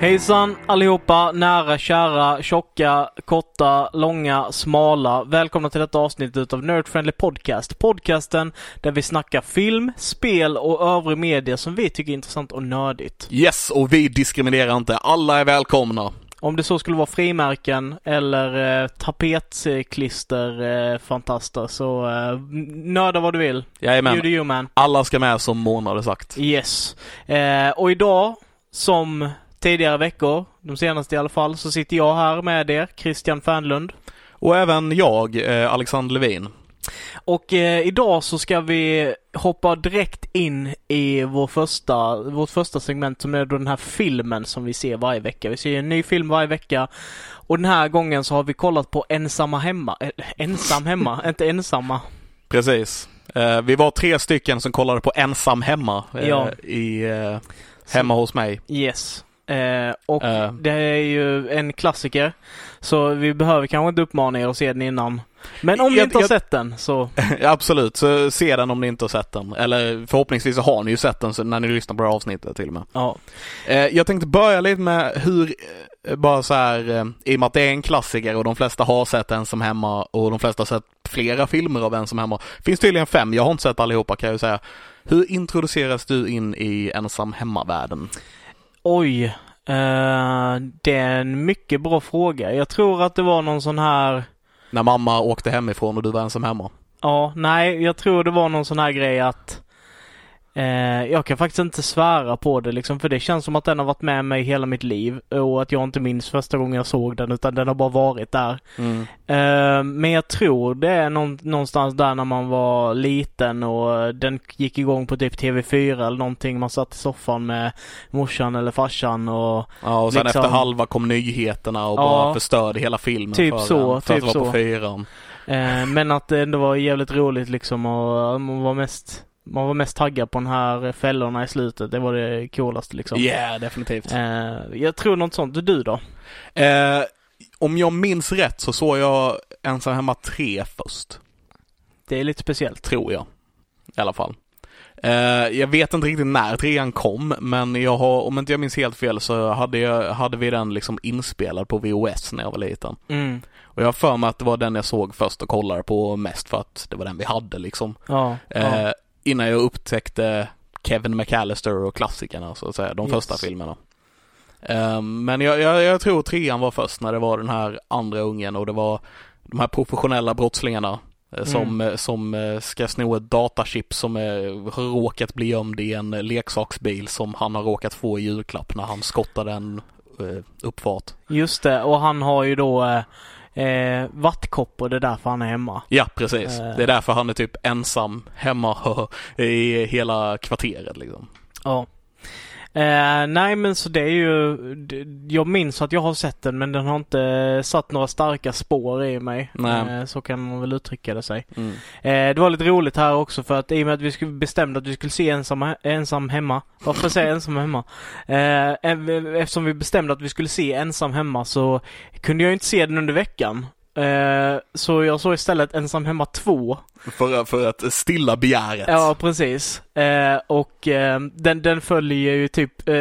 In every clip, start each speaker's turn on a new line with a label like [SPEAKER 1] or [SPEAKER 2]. [SPEAKER 1] Hejsan allihopa, nära, kära, tjocka, korta, långa, smala. Välkomna till detta avsnitt utav Nerd Friendly Podcast. Podcasten där vi snackar film, spel och övrig media som vi tycker är intressant och nördigt.
[SPEAKER 2] Yes, och vi diskriminerar inte. Alla är välkomna.
[SPEAKER 1] Om det så skulle vara frimärken eller eh, tapetklister, eh, fantaster, så eh, nörda vad du vill. You do
[SPEAKER 2] Jajamän.
[SPEAKER 1] you man.
[SPEAKER 2] Alla ska med som Mona hade sagt.
[SPEAKER 1] Yes. Eh, och idag, som tidigare veckor, de senaste i alla fall, så sitter jag här med er, Christian Fernlund.
[SPEAKER 2] Och även jag, eh, Alexander Levin.
[SPEAKER 1] Och eh, idag så ska vi hoppa direkt in i vår första, vårt första segment som är då den här filmen som vi ser varje vecka. Vi ser ju en ny film varje vecka och den här gången så har vi kollat på Ensamma Hemma. Eh, ensam Hemma, inte ensamma.
[SPEAKER 2] Precis. Eh, vi var tre stycken som kollade på Ensam Hemma eh,
[SPEAKER 1] Ja.
[SPEAKER 2] i, eh, hemma hos mig.
[SPEAKER 1] Yes. Eh, och
[SPEAKER 2] Eh.
[SPEAKER 1] det är ju en klassiker. Så vi behöver kanske inte uppmana er att se den innan. Men om ni
[SPEAKER 2] Jag-
[SPEAKER 1] inte har
[SPEAKER 2] jag-
[SPEAKER 1] sett den så,
[SPEAKER 2] Absolut, så se den om ni inte har sett den. Eller förhoppningsvis så har ni ju sett den så när ni lyssnar på det här avsnittet till och med.
[SPEAKER 1] ja.
[SPEAKER 2] Eh, jag tänkte börja lite med hur, eh, bara så här, eh, i och med att det är en klassiker och de flesta har sett Ensam Hemma och de flesta har sett flera filmer av Ensam Hemma. finns tydligen fem, jag har inte sett allihopa kan jag ju säga. Hur introduceras du in i Ensam Hemma-världen?
[SPEAKER 1] Oj. Eh, det är en mycket bra fråga. Jag tror att det var någon sån här
[SPEAKER 2] När mamma åkte hemifrån och du var ensam hemma?
[SPEAKER 1] Ja, nej, jag tror det var någon sån här grej att eh, jag kan faktiskt inte svära på det liksom, för det känns som att den har varit med mig hela mitt liv och att jag inte minns första gången jag såg den utan den har bara varit där. Eh, men jag tror det är någon, någonstans där när man var liten och eh, den gick igång på typ TV4 eller någonting. Man satt i soffan med morsan eller farsan och
[SPEAKER 2] Ja, och sen
[SPEAKER 1] Liksom-
[SPEAKER 2] efter halva kom nyheterna och
[SPEAKER 1] Ja.
[SPEAKER 2] bara förstörde hela filmen
[SPEAKER 1] Typ
[SPEAKER 2] för, en,
[SPEAKER 1] så,
[SPEAKER 2] för
[SPEAKER 1] typ
[SPEAKER 2] att det var
[SPEAKER 1] så.
[SPEAKER 2] på fyran.
[SPEAKER 1] Eh, men att det ändå var jävligt roligt liksom och man var mest, man var mest taggad på de här fällorna i slutet. Det var det coolaste liksom.
[SPEAKER 2] Yeah, definitivt.
[SPEAKER 1] Eh, jag tror något sånt. Du då?
[SPEAKER 2] Eh, om jag minns rätt så såg jag Ensam Hemma 3 först.
[SPEAKER 1] Det är lite speciellt.
[SPEAKER 2] Tror jag. I alla fall. Eh, jag vet inte riktigt när trean kom, men jag har, om inte jag minns helt fel så hade, jag, hade vi den liksom inspelad på VHS när jag var liten.
[SPEAKER 1] Mm.
[SPEAKER 2] Och jag har för mig att det var den jag såg först och kollade på mest för att det var den vi hade liksom.
[SPEAKER 1] Ja. ja.
[SPEAKER 2] Eh, innan jag upptäckte Kevin McAllister och klassikerna så att säga, de
[SPEAKER 1] Yes.
[SPEAKER 2] första filmerna. Eh, men jag, jag, jag tror trean var först när det var den här andra ungen och det var de här professionella brottslingarna
[SPEAKER 1] Mm.
[SPEAKER 2] eh, som, eh, som eh, ska sno ett datachip som eh, har råkat bli gömd i en eh, leksaksbil som han har råkat få i julklapp när han skottade en eh, uppfart.
[SPEAKER 1] Just det. Och han har ju då eh, eh, vattkoppor. Det är därför han är hemma.
[SPEAKER 2] Ja, precis.
[SPEAKER 1] Eh.
[SPEAKER 2] Det är därför han är typ ensam hemma i hela kvarteret liksom.
[SPEAKER 1] Ja. Eh, nej men så det är ju, d- jag minns att jag har sett den men den har inte satt några starka spår i mig.
[SPEAKER 2] Nej.
[SPEAKER 1] Eh, så kan man väl uttrycka det sig. Eh, det var lite roligt här också för att i och med att vi skulle bestämde att vi skulle se ensam, ensam hemma. Varför säger jag ensam hemma? Eh, ev- eftersom vi bestämde att vi skulle se ensam hemma så kunde jag inte se den under veckan. Eh, så jag såg istället ensam hemma 2.
[SPEAKER 2] För, för att stilla begäret.
[SPEAKER 1] Ja, precis. Eh, och eh, den, den följer ju typ eh,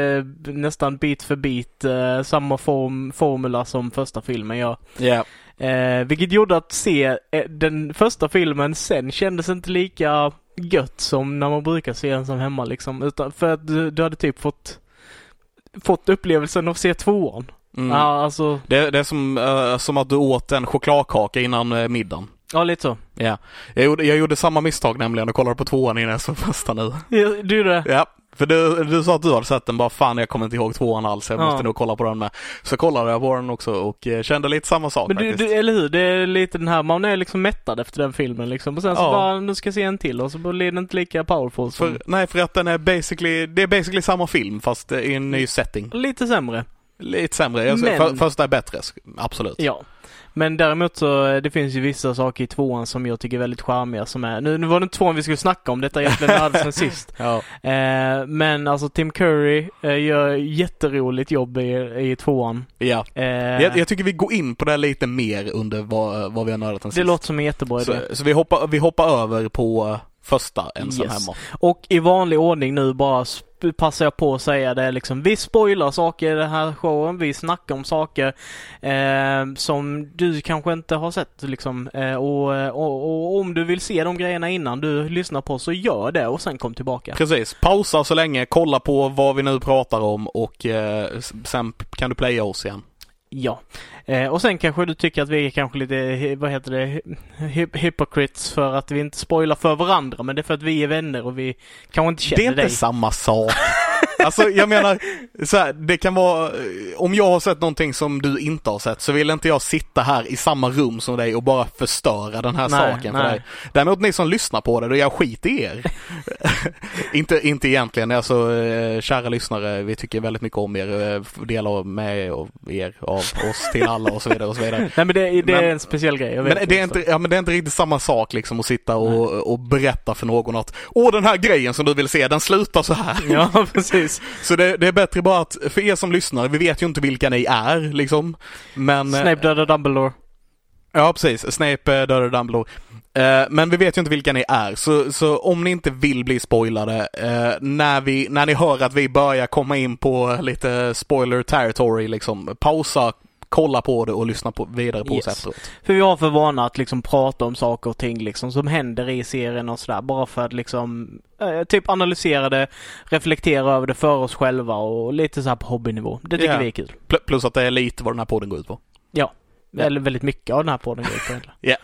[SPEAKER 1] nästan bit för bit eh, samma form, formula som första filmen gör.
[SPEAKER 2] Ja.
[SPEAKER 1] Eh, vilket gjorde att se eh, den första filmen sen kändes inte lika gött som när man brukar se den som hemma liksom. Utan för att du, du hade typ fått, fått upplevelsen av att se tvåan.
[SPEAKER 2] Mm.
[SPEAKER 1] Ja, alltså,
[SPEAKER 2] Det, det är som, eh, som att du åt en chokladkaka innan uh, middagen.
[SPEAKER 1] ja lite så.
[SPEAKER 2] Ja. Jag, gjorde, jag gjorde samma misstag nämligen och kollade på tvåan innan jag såg första nu.
[SPEAKER 1] Ja, Du det?
[SPEAKER 2] Ja. För du, du sa att du hade sett den bara, fan jag kommer inte ihåg tvåan alls, jag
[SPEAKER 1] Ja.
[SPEAKER 2] måste nog kolla på den med. Så kollade jag på den också och eh, kände lite samma sak
[SPEAKER 1] Men du,
[SPEAKER 2] faktiskt.
[SPEAKER 1] du, eller hur? Det är lite den här, man är liksom mättad efter den filmen liksom. Och sen så
[SPEAKER 2] Ja.
[SPEAKER 1] bara, nu ska jag se en till och så blir den inte lika powerful som...
[SPEAKER 2] För, nej, för att den är basically, det är basically samma film fast eh, i en ny setting.
[SPEAKER 1] Lite sämre.
[SPEAKER 2] Lite sämre, jag,
[SPEAKER 1] Men-
[SPEAKER 2] för, första är bättre, sk- absolut.
[SPEAKER 1] Ja. Men däremot så, eh, det finns ju vissa saker i tvåan som jag tycker är väldigt charmiga som är, nu, nu var det inte tvåan vi skulle snacka om, detta är egentligen nördigt sen sist.
[SPEAKER 2] Ja.
[SPEAKER 1] Eh, men alltså Tim Curry eh, gör jätteroligt jobb i, i tvåan.
[SPEAKER 2] ja.
[SPEAKER 1] Eh,
[SPEAKER 2] Jag, jag tycker vi går in på det lite mer under vad, vad vi har nördat den
[SPEAKER 1] det
[SPEAKER 2] sist.
[SPEAKER 1] låter som en jättebra idé.
[SPEAKER 2] så, så vi hoppar, vi hoppar över på eh, första ensam
[SPEAKER 1] Yes.
[SPEAKER 2] hemma.
[SPEAKER 1] Och i vanlig ordning nu bara sp- passar jag på att säga det liksom. Vi spoilar saker i den här showen. Vi snackar om saker eh, som du kanske inte har sett liksom. Eh, och, och, och om du vill se de grejerna innan du lyssnar på oss, så gör det och sen kom tillbaka.
[SPEAKER 2] Precis, pausa så länge, kolla på vad vi nu pratar om och eh, s- sen p- kan du playa oss igen.
[SPEAKER 1] Ja. Eh, och sen kanske du tycker att vi är kanske lite, hi- vad heter det, hi- hi- hypocrites för att vi inte spoilar för varandra. Men det är för att vi är vänner och vi kanske inte känner
[SPEAKER 2] det är inte
[SPEAKER 1] dig.
[SPEAKER 2] samma sak. Alltså jag menar, så här, det kan vara, eh, om jag har sett någonting som du inte har sett så vill inte jag sitta här i samma rum som dig och bara förstöra den här
[SPEAKER 1] Nej,
[SPEAKER 2] saken för
[SPEAKER 1] nej.
[SPEAKER 2] dig. Däremot ni som lyssnar på det, då jag skit i er. inte, inte egentligen, alltså eh, kära lyssnare, vi tycker väldigt mycket om er, eh, dela med och er av oss till alla och så vidare och så vidare.
[SPEAKER 1] Nej men det, det är
[SPEAKER 2] Men-
[SPEAKER 1] en speciell grej. Jag vet
[SPEAKER 2] Men det, är inte, ja, men det är inte riktigt samma sak liksom att sitta och, och berätta för någon att Åh den här grejen som du vill se, den slutar så här.
[SPEAKER 1] Ja precis.
[SPEAKER 2] Så det, det är bättre bara att, för er som lyssnar, vi vet ju inte vilka ni är liksom. Men,
[SPEAKER 1] Snape dödar Dumbledore.
[SPEAKER 2] Ja precis, Snape eh, dödar Dumbledore. Eh, men vi vet ju inte vilka ni är, så, så om ni inte vill bli spoilade, eh, när, vi, när ni hör att vi börjar komma in på lite spoiler territory liksom, pausa, kolla på det och lyssna på, vidare på
[SPEAKER 1] Yes.
[SPEAKER 2] oss efteråt.
[SPEAKER 1] För vi har för vana att liksom prata om saker och ting liksom som händer i serien och sådär bara för att liksom eh, typ analysera det, reflektera över det för oss själva och lite så här på hobbynivå. Det tycker
[SPEAKER 2] Ja.
[SPEAKER 1] vi är kul.
[SPEAKER 2] Pl- plus att det är lite vad den här podden går ut på. Ja.
[SPEAKER 1] Eller väldigt mycket av den här podden går ut på egentligen.
[SPEAKER 2] Ja.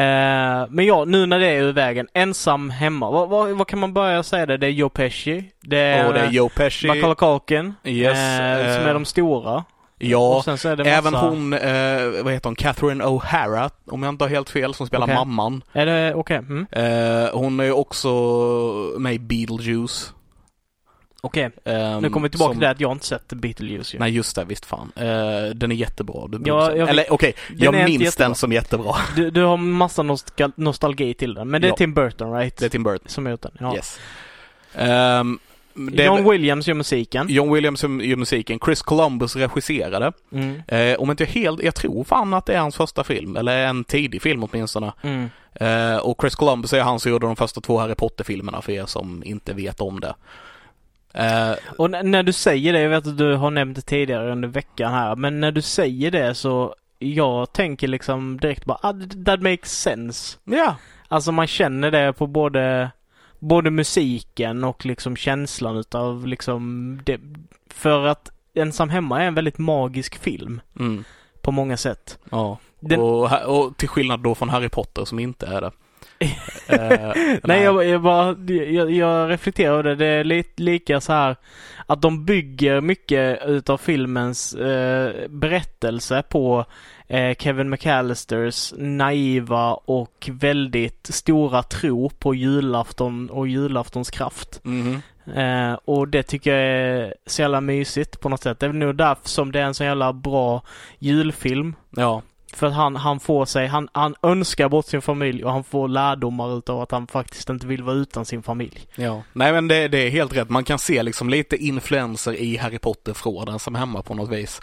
[SPEAKER 1] Eh, men ja, nu när det är ur vägen. Ensam hemma. Vad, vad, vad kan man börja säga det? Det är Joe Pesci. Det är,
[SPEAKER 2] och det är Joe Pesci.
[SPEAKER 1] Macaulay Culkin.
[SPEAKER 2] Yes,
[SPEAKER 1] eh, som
[SPEAKER 2] eh,
[SPEAKER 1] är de stora.
[SPEAKER 2] Ja,
[SPEAKER 1] och sen så är det
[SPEAKER 2] även
[SPEAKER 1] massa...
[SPEAKER 2] hon, eh, vad heter hon, Catherine O'Hara, om jag inte har helt fel, som spelar
[SPEAKER 1] Okej.
[SPEAKER 2] mamman.
[SPEAKER 1] Är det okej? Mm.
[SPEAKER 2] Eh, hon är ju också med i Beetlejuice.
[SPEAKER 1] Okej.
[SPEAKER 2] ehm,
[SPEAKER 1] Nu kommer vi tillbaka
[SPEAKER 2] som-
[SPEAKER 1] till det att jag inte sett Beetlejuice ju.
[SPEAKER 2] Nej just det, visst fan. Eh, den är jättebra. Du
[SPEAKER 1] Ja, jag-
[SPEAKER 2] Eller okej,
[SPEAKER 1] Den
[SPEAKER 2] jag
[SPEAKER 1] är inte
[SPEAKER 2] minns
[SPEAKER 1] jättebra.
[SPEAKER 2] den som jättebra.
[SPEAKER 1] Du, du har massa nostal- nostalgi till den. Men det är
[SPEAKER 2] Ja.
[SPEAKER 1] Tim Burton right?
[SPEAKER 2] Det är Tim Burton.
[SPEAKER 1] Som har gjort den. Ja.
[SPEAKER 2] Yes. Ehm, det är-
[SPEAKER 1] John Williams gör musiken.
[SPEAKER 2] John Williams som gör musiken. Chris Columbus regisserade.
[SPEAKER 1] Mm.
[SPEAKER 2] Eh, om inte jag helt, jag tror fan att det är hans första film, eller en tidig film åtminstone.
[SPEAKER 1] Mm.
[SPEAKER 2] Eh, och Chris Columbus är han som gjorde de första två Harry Potter-filmerna för er som inte vet om det. Eh,
[SPEAKER 1] Och n- när du säger det, jag vet att du har nämnt det tidigare under veckan här. Men när du säger det så jag tänker liksom direkt bara ah, th- that makes sense.
[SPEAKER 2] ja,
[SPEAKER 1] Alltså man känner det på både, både musiken och liksom känslan utav liksom det. För att Ensam Hemma är en väldigt magisk film
[SPEAKER 2] mm,
[SPEAKER 1] på många sätt.
[SPEAKER 2] ja.
[SPEAKER 1] Den-
[SPEAKER 2] Och, ha- och till skillnad då från Harry Potter som inte är det. Eh,
[SPEAKER 1] Nej, jag, jag bara jag, jag reflekterar över det. Det är lite lika så här att de bygger mycket utav filmens eh, berättelse på eh, Kevin McAllisters naiva och väldigt stora tro på julafton och julaftons kraft.
[SPEAKER 2] Mhm.
[SPEAKER 1] Eh, och det tycker jag är så jävla mysigt på något sätt. Det är nog därför som det är en så jävla bra julfilm.
[SPEAKER 2] Ja,
[SPEAKER 1] För att han, han får sig, han, han önskar bort sin familj och han får lärdomar utav att han faktiskt inte vill vara utan sin familj.
[SPEAKER 2] ja. Nej men det, det är helt rätt. Man kan se liksom lite influenser i Harry Potter från den som är hemma på något vis.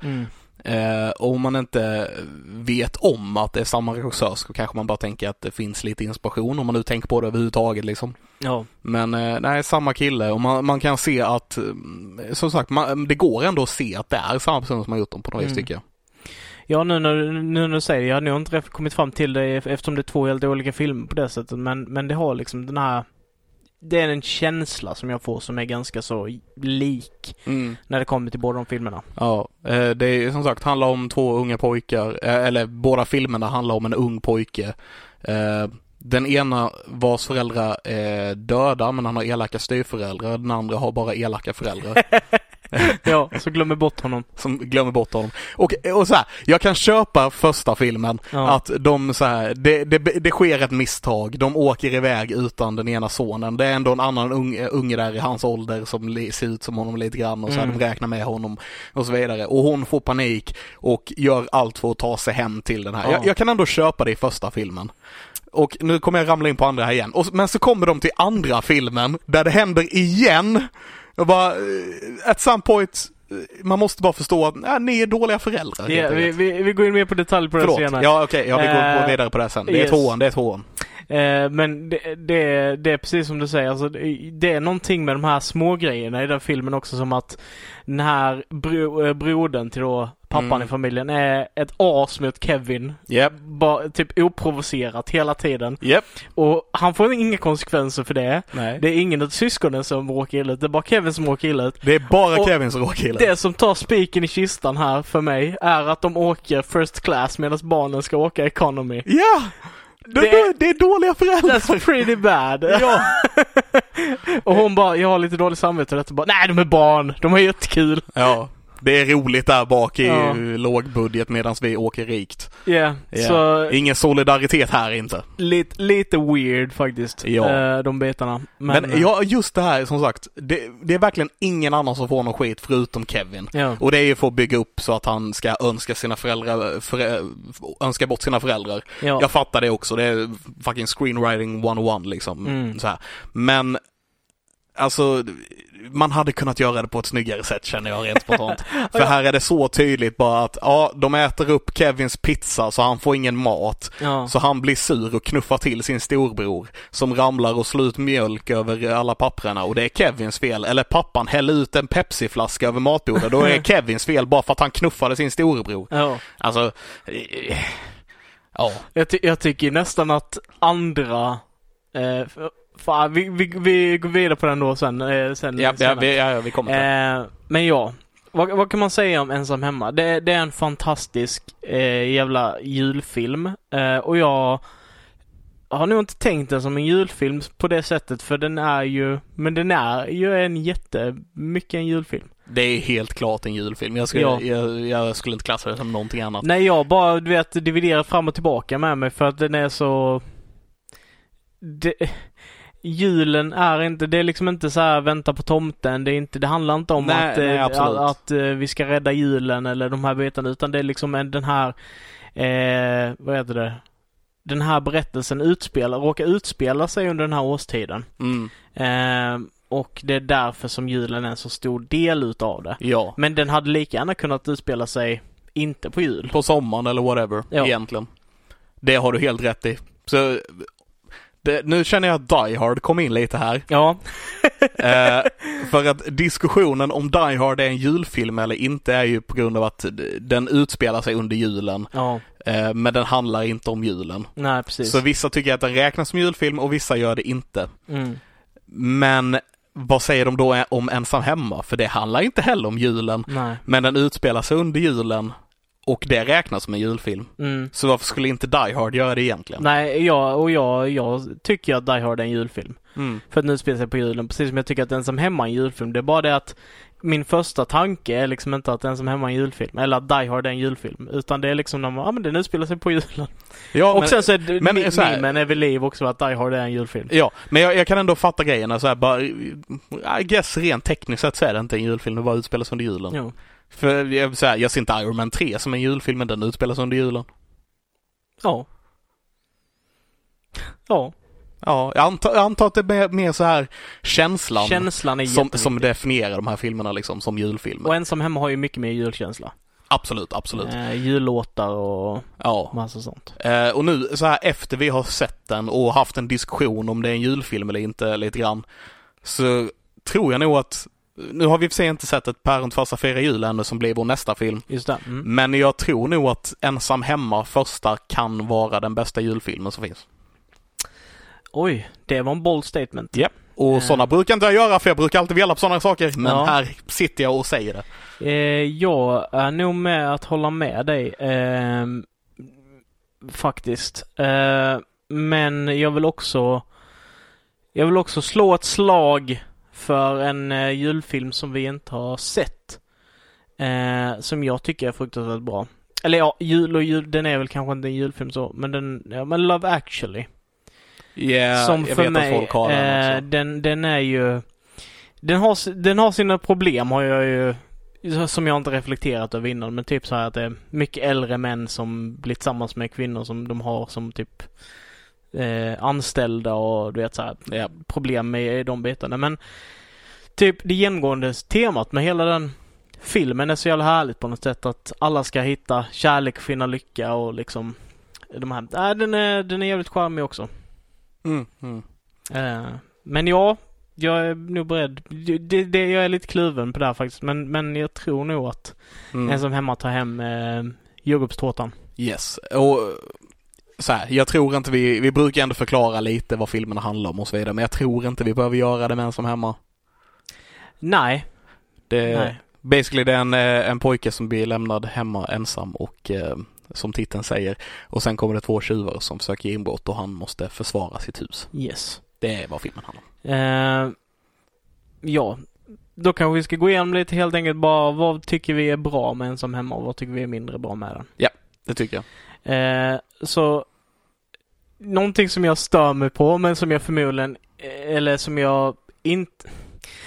[SPEAKER 2] Eh, och om man inte vet om att det är samma regissör så kanske man bara tänker att det finns lite inspiration om man nu tänker på det överhuvudtaget liksom.
[SPEAKER 1] Ja.
[SPEAKER 2] Men eh, nej, samma kille och man, man kan se att, mm, som sagt, man, det går ändå att se att det är samma person som har gjort dem på något vis
[SPEAKER 1] Mm.
[SPEAKER 2] tycker jag.
[SPEAKER 1] Ja, nu när, nu när du säger det, jag har nog inte ref- kommit fram till det ef- eftersom det är två helt olika filmer på det sättet, men, men det har liksom den här det är en känsla som jag får som är ganska så lik
[SPEAKER 2] Mm.
[SPEAKER 1] när det kommer till båda de filmerna.
[SPEAKER 2] Ja, eh, det är som sagt handlar om två unga pojkar, eh, eller båda filmerna handlar om en ung pojke eh, Den ena vars föräldrar är döda men han har elaka styvföräldrar. Den andra har bara elaka föräldrar
[SPEAKER 1] ja, så glömmer bort honom.
[SPEAKER 2] som glömmer bort honom. Och, och så här, jag kan köpa första filmen
[SPEAKER 1] Ja.
[SPEAKER 2] att de så här, det, det, det sker ett misstag. De åker iväg utan den ena sonen. Det är ändå en annan unge, unge där i hans ålder som li, ser ut som honom lite grann och så här,
[SPEAKER 1] Mm.
[SPEAKER 2] de räknar med honom och så vidare. Och hon får panik och gör allt för att ta sig hem till den här.
[SPEAKER 1] Ja.
[SPEAKER 2] Jag, jag kan ändå köpa det i första filmen. Och nu kommer jag ramla in på andra här igen. Och, s- men så kommer de till andra filmen där det händer igen. Jag bara, eh, at some point, eh, man måste bara förstå att nej, ni är dåliga föräldrar.
[SPEAKER 1] Ja,
[SPEAKER 2] helt
[SPEAKER 1] vi,
[SPEAKER 2] enkelt.
[SPEAKER 1] vi, vi går in mer på detalj på det
[SPEAKER 2] Förlåt,
[SPEAKER 1] senare.
[SPEAKER 2] ja okej, ja, vi går,
[SPEAKER 1] Eh,
[SPEAKER 2] går vidare på det sen. Det är
[SPEAKER 1] yes.
[SPEAKER 2] ett hån, det är ett hån.
[SPEAKER 1] Eh, men det, det, det är precis som du säger, alltså, det, det är någonting med de här små grejerna i den filmen också som att den här bro, eh, brodern till då pappan
[SPEAKER 2] Mm.
[SPEAKER 1] i familjen är ett as mot Kevin.
[SPEAKER 2] Japp,
[SPEAKER 1] Bara, typ oprovocerat hela tiden.
[SPEAKER 2] japp.
[SPEAKER 1] Och han får inga konsekvenser för det.
[SPEAKER 2] Nej.
[SPEAKER 1] Det
[SPEAKER 2] Det,
[SPEAKER 1] är ingen av syskonen som råkar illa ut. Det är bara Kevin som råkar illa ut.
[SPEAKER 2] är bara
[SPEAKER 1] Och-
[SPEAKER 2] Kevin som råkar illa ut.
[SPEAKER 1] Det som tar spiken i kistan här för mig är att de åker first class medan barnen ska åka economy.
[SPEAKER 2] Ja! Det,
[SPEAKER 1] Det-
[SPEAKER 2] det, det är dåliga föräldrar.
[SPEAKER 1] That's pretty bad.
[SPEAKER 2] Ja.
[SPEAKER 1] Och hon bara, jag har lite dåligt samvete och detta bara, nej de är barn, de har jättekul.
[SPEAKER 2] ja. Det är roligt där bak i
[SPEAKER 1] Ja.
[SPEAKER 2] lågbudget medan vi åker rikt.
[SPEAKER 1] Yeah.
[SPEAKER 2] Ja.
[SPEAKER 1] Så
[SPEAKER 2] Ingen solidaritet här inte.
[SPEAKER 1] lite, lite weird faktiskt.
[SPEAKER 2] Ja.
[SPEAKER 1] eh, de bitarna.
[SPEAKER 2] Men,
[SPEAKER 1] eh.
[SPEAKER 2] ja, just det här som sagt. Det, det är verkligen ingen annan som får någon skit förutom Kevin.
[SPEAKER 1] eh, ja.
[SPEAKER 2] Och det är ju för att bygga upp så att han ska önska sina föräldrar, förä, önska bort sina föräldrar.
[SPEAKER 1] Ja.
[SPEAKER 2] Jag fattar det också, det är fucking screenwriting 101 liksom.
[SPEAKER 1] Mm.
[SPEAKER 2] Så här. Men, alltså, man hade kunnat göra det på ett snyggare sätt känner jag rent spontant. för här är det så tydligt bara att, ja, de äter upp Kevins pizza så han får ingen mat.
[SPEAKER 1] Ja.
[SPEAKER 2] Så han blir sur och knuffar till sin storbror som ramlar och slår ut mjölk över alla papprena och det är Kevins fel. Eller pappan häller ut en pepsiflaska över matbordet. Då är det Kevins fel bara för att han knuffade sin storebror.
[SPEAKER 1] Ja.
[SPEAKER 2] Alltså, eh, ja.
[SPEAKER 1] Jag, ty- jag tycker nästan att andra... Eh, f- fan, vi, vi, vi går vidare på den då sen. Eh, sen
[SPEAKER 2] Ja, ja,
[SPEAKER 1] senare.
[SPEAKER 2] vi, ja, ja, vi kommer till det.
[SPEAKER 1] Eh, men ja, vad, vad kan man säga om Ensam Hemma? Det, det är en fantastisk eh, jävla julfilm. Eh, och jag har nog inte tänkt den som en julfilm på det sättet för den är ju, men den är ju en jätte, mycket en julfilm.
[SPEAKER 2] Det är helt klart en julfilm. Jag skulle,
[SPEAKER 1] Ja.
[SPEAKER 2] jag, jag skulle inte klassa det som någonting annat.
[SPEAKER 1] Nej, jag bara, du vet, dividerar fram och tillbaka med mig för att den är så... Det... Julen är inte, det är liksom inte så här vänta på tomten. Det, är inte, det handlar inte om
[SPEAKER 2] Nej,
[SPEAKER 1] att, eh,
[SPEAKER 2] nej, absolut.
[SPEAKER 1] att, att eh, vi ska rädda julen eller de här bitarna utan det är liksom en- den här, eh, vad heter det? Den här berättelsen utspelar, råkar utspela sig under den här årstiden.
[SPEAKER 2] Mm,
[SPEAKER 1] Eh, och det är därför som julen är en så stor del utav det.
[SPEAKER 2] ja.
[SPEAKER 1] Men den hade lika gärna kunnat utspela sig inte på jul.
[SPEAKER 2] På sommaren eller whatever,
[SPEAKER 1] Ja.
[SPEAKER 2] egentligen. Det har du helt rätt i. Så, det, nu känner jag att Die Hard kom in lite här.
[SPEAKER 1] Ja,
[SPEAKER 2] Eh, för att diskussionen om Die Hard är en julfilm eller inte är ju på grund av att d- den utspelar sig under julen.
[SPEAKER 1] ja,
[SPEAKER 2] Eh, men den handlar inte om julen.
[SPEAKER 1] nej precis.
[SPEAKER 2] Så vissa tycker att den räknas som julfilm och vissa gör det inte.
[SPEAKER 1] Mm.
[SPEAKER 2] Men vad säger de då om Ensam Hemma? För det handlar inte heller om julen.
[SPEAKER 1] Nej.
[SPEAKER 2] Men den utspelar sig under julen och det räknas som en julfilm.
[SPEAKER 1] Mm.
[SPEAKER 2] Så varför skulle inte Die Hard göra det egentligen?
[SPEAKER 1] Nej, jag, och jag, jag tycker att Die Hard är en julfilm.
[SPEAKER 2] Mm.
[SPEAKER 1] För att nu spelar sig på julen, precis som jag tycker att Ensam Hemma är en julfilm. Det är bara det att min första tanke är liksom inte att Ensam Hemma är en julfilm, eller att Die Hard är en julfilm. Utan det är liksom när man, ja men den utspelar sig på julen.
[SPEAKER 2] Ja,
[SPEAKER 1] och
[SPEAKER 2] men-
[SPEAKER 1] sen så är det,
[SPEAKER 2] men
[SPEAKER 1] men,
[SPEAKER 2] så här-
[SPEAKER 1] memen är vid liv också att Die Hard är en julfilm.
[SPEAKER 2] Ja, men jag, jag kan ändå fatta grejerna så här bara, I guess rent tekniskt sett så är det inte en julfilm, det bara utspelas under julen.
[SPEAKER 1] Jo.
[SPEAKER 2] För jag, så här, jag ser inte Iron Man 3 som en julfilm, men den utspelas under julen.
[SPEAKER 1] Ja. Ja,
[SPEAKER 2] Ja, jag antar, jag antar att det är mer, mer så här känslan
[SPEAKER 1] känslan är
[SPEAKER 2] som,
[SPEAKER 1] jätteviktig.
[SPEAKER 2] som definierar de här filmerna liksom, som julfilmer.
[SPEAKER 1] Och Ensam Hemma har ju mycket mer julkänsla.
[SPEAKER 2] Absolut, absolut.
[SPEAKER 1] Eh, jullåtar och
[SPEAKER 2] Ja.
[SPEAKER 1] massa sånt.
[SPEAKER 2] Eh, och nu så här efter vi har sett den och haft en diskussion om det är en julfilm eller inte lite grann. Så tror jag nog att, nu har vi i och för sig inte sett ett Päron farsa firar jul ännu som blir vår nästa film.
[SPEAKER 1] Just det. Mm.
[SPEAKER 2] Men jag tror nog att Ensam Hemma första kan vara den bästa julfilmen som finns.
[SPEAKER 1] Oj, det var en bold statement.
[SPEAKER 2] Och
[SPEAKER 1] Mm.
[SPEAKER 2] sådana brukar inte jag göra för jag brukar alltid vela på sådana saker. Men
[SPEAKER 1] Ja.
[SPEAKER 2] här sitter jag och säger det.
[SPEAKER 1] Eh, jag är nog med att hålla med dig. ehm, faktiskt. Eh, Men jag vill också Jag vill också slå ett slag för en eh, julfilm som vi inte har sett. Eh, som jag tycker är fruktansvärt bra. Eller ja, jul och jul, den är väl kanske inte en julfilm så, men den, ja men Love actually.
[SPEAKER 2] Yeah,
[SPEAKER 1] som
[SPEAKER 2] Eh, jag
[SPEAKER 1] för
[SPEAKER 2] vet att
[SPEAKER 1] mig,
[SPEAKER 2] folk har den
[SPEAKER 1] eh,
[SPEAKER 2] också.
[SPEAKER 1] den, den är ju... Den har, s- den har sina problem har jag ju... Som jag inte reflekterat över innan men typ så här att det är mycket äldre män som blir tillsammans med kvinnor som de har som typ eh, anställda och du vet så här
[SPEAKER 2] Ja.
[SPEAKER 1] problem med de bitarna men typ det genomgående temat med hela den filmen är så jävla härligt på något sätt att alla ska hitta kärlek och finna lycka och liksom de här, nej den är, den är jävligt charmig också.
[SPEAKER 2] Mm, mm.
[SPEAKER 1] Eh, men ja, jag är nog beredd. Det, det, jag är lite kluven på det här faktiskt. Men, men jag tror nog att
[SPEAKER 2] Mm.
[SPEAKER 1] en som hemma tar hem eh, jordgubbstårtan.
[SPEAKER 2] Yes, och så här, jag tror inte vi, vi brukar ändå förklara lite vad filmerna handlar om och så vidare, men jag tror inte vi behöver göra det med en som hemma.
[SPEAKER 1] Nej,
[SPEAKER 2] Det,
[SPEAKER 1] nej.
[SPEAKER 2] Basically det är en, eh, en pojke som blir lämnad hemma ensam och eh, som titeln säger, och sen kommer det två tjuvar som försöker ge inbrott och han måste försvara sitt hus.
[SPEAKER 1] Yes.
[SPEAKER 2] Det är vad filmen handlar om.
[SPEAKER 1] Eh, ja, då kanske vi ska gå igenom lite helt enkelt bara vad tycker vi är bra med en som hemma och vad tycker vi är mindre bra med den.
[SPEAKER 2] Det tycker jag.
[SPEAKER 1] Eh, så någonting som jag stör mig på men som jag förmodligen, eh, eller som jag inte,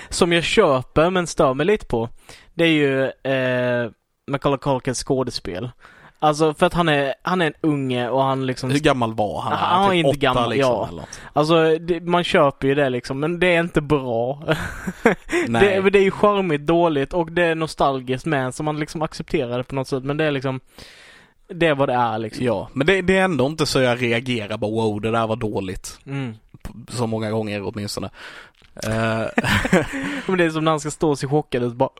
[SPEAKER 1] som jag köper men stör mig lite på. Det är ju eh, Macaulay Culkins skådespel. Alltså för att han är, han är en unge och han liksom
[SPEAKER 2] Hur gammal var han?
[SPEAKER 1] Han var inte gammal,
[SPEAKER 2] liksom,
[SPEAKER 1] ja.
[SPEAKER 2] eller något.
[SPEAKER 1] Alltså, det, man köper ju det liksom, men det är inte bra.
[SPEAKER 2] Nej.
[SPEAKER 1] det, det är ju charmigt dåligt och det är nostalgiskt med, så man liksom accepterar det på något sätt. Men det är liksom, det är vad det är liksom.
[SPEAKER 2] Ja, men det, det är ändå inte så jag reagerar bara wow, det där var dåligt.
[SPEAKER 1] Mm.
[SPEAKER 2] P- Så många gånger åtminstone. Eh,
[SPEAKER 1] Men det är som när han ska stå och se chockad ut och bara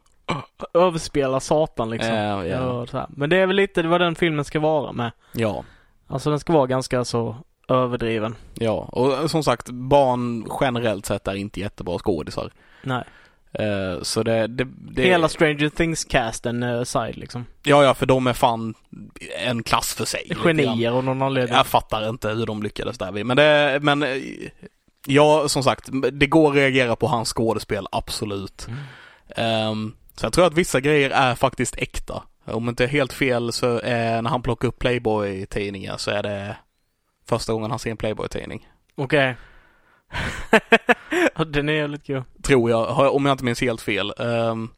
[SPEAKER 1] överspela satan liksom.
[SPEAKER 2] eh, ja.
[SPEAKER 1] Ja, så här. Men det är väl lite vad den filmen ska vara med.
[SPEAKER 2] ja.
[SPEAKER 1] Alltså den ska vara ganska så överdriven.
[SPEAKER 2] Ja, och eh, som sagt, barn generellt sett är inte jättebra skådisar.
[SPEAKER 1] Nej.
[SPEAKER 2] Eh, Så det, det, det...
[SPEAKER 1] Hela Stranger Things-casten eh, side liksom.
[SPEAKER 2] Ja, ja, för de är fan en klass för sig. lite grann.
[SPEAKER 1] Genier av någon anledning.
[SPEAKER 2] Jag fattar inte hur de lyckades där. vid. Men det, men... eh, Ja, som sagt, det går att reagera på hans skådespel, absolut.
[SPEAKER 1] Mm.
[SPEAKER 2] Um, så jag tror att vissa grejer är faktiskt äkta. Om inte helt fel så är när han plockar upp Playboy-tidningar så är det första gången han ser en Playboy-tidning.
[SPEAKER 1] Okej. Ja, den är jävligt kul.
[SPEAKER 2] tror jag, har- om jag inte minns helt fel. Ehm,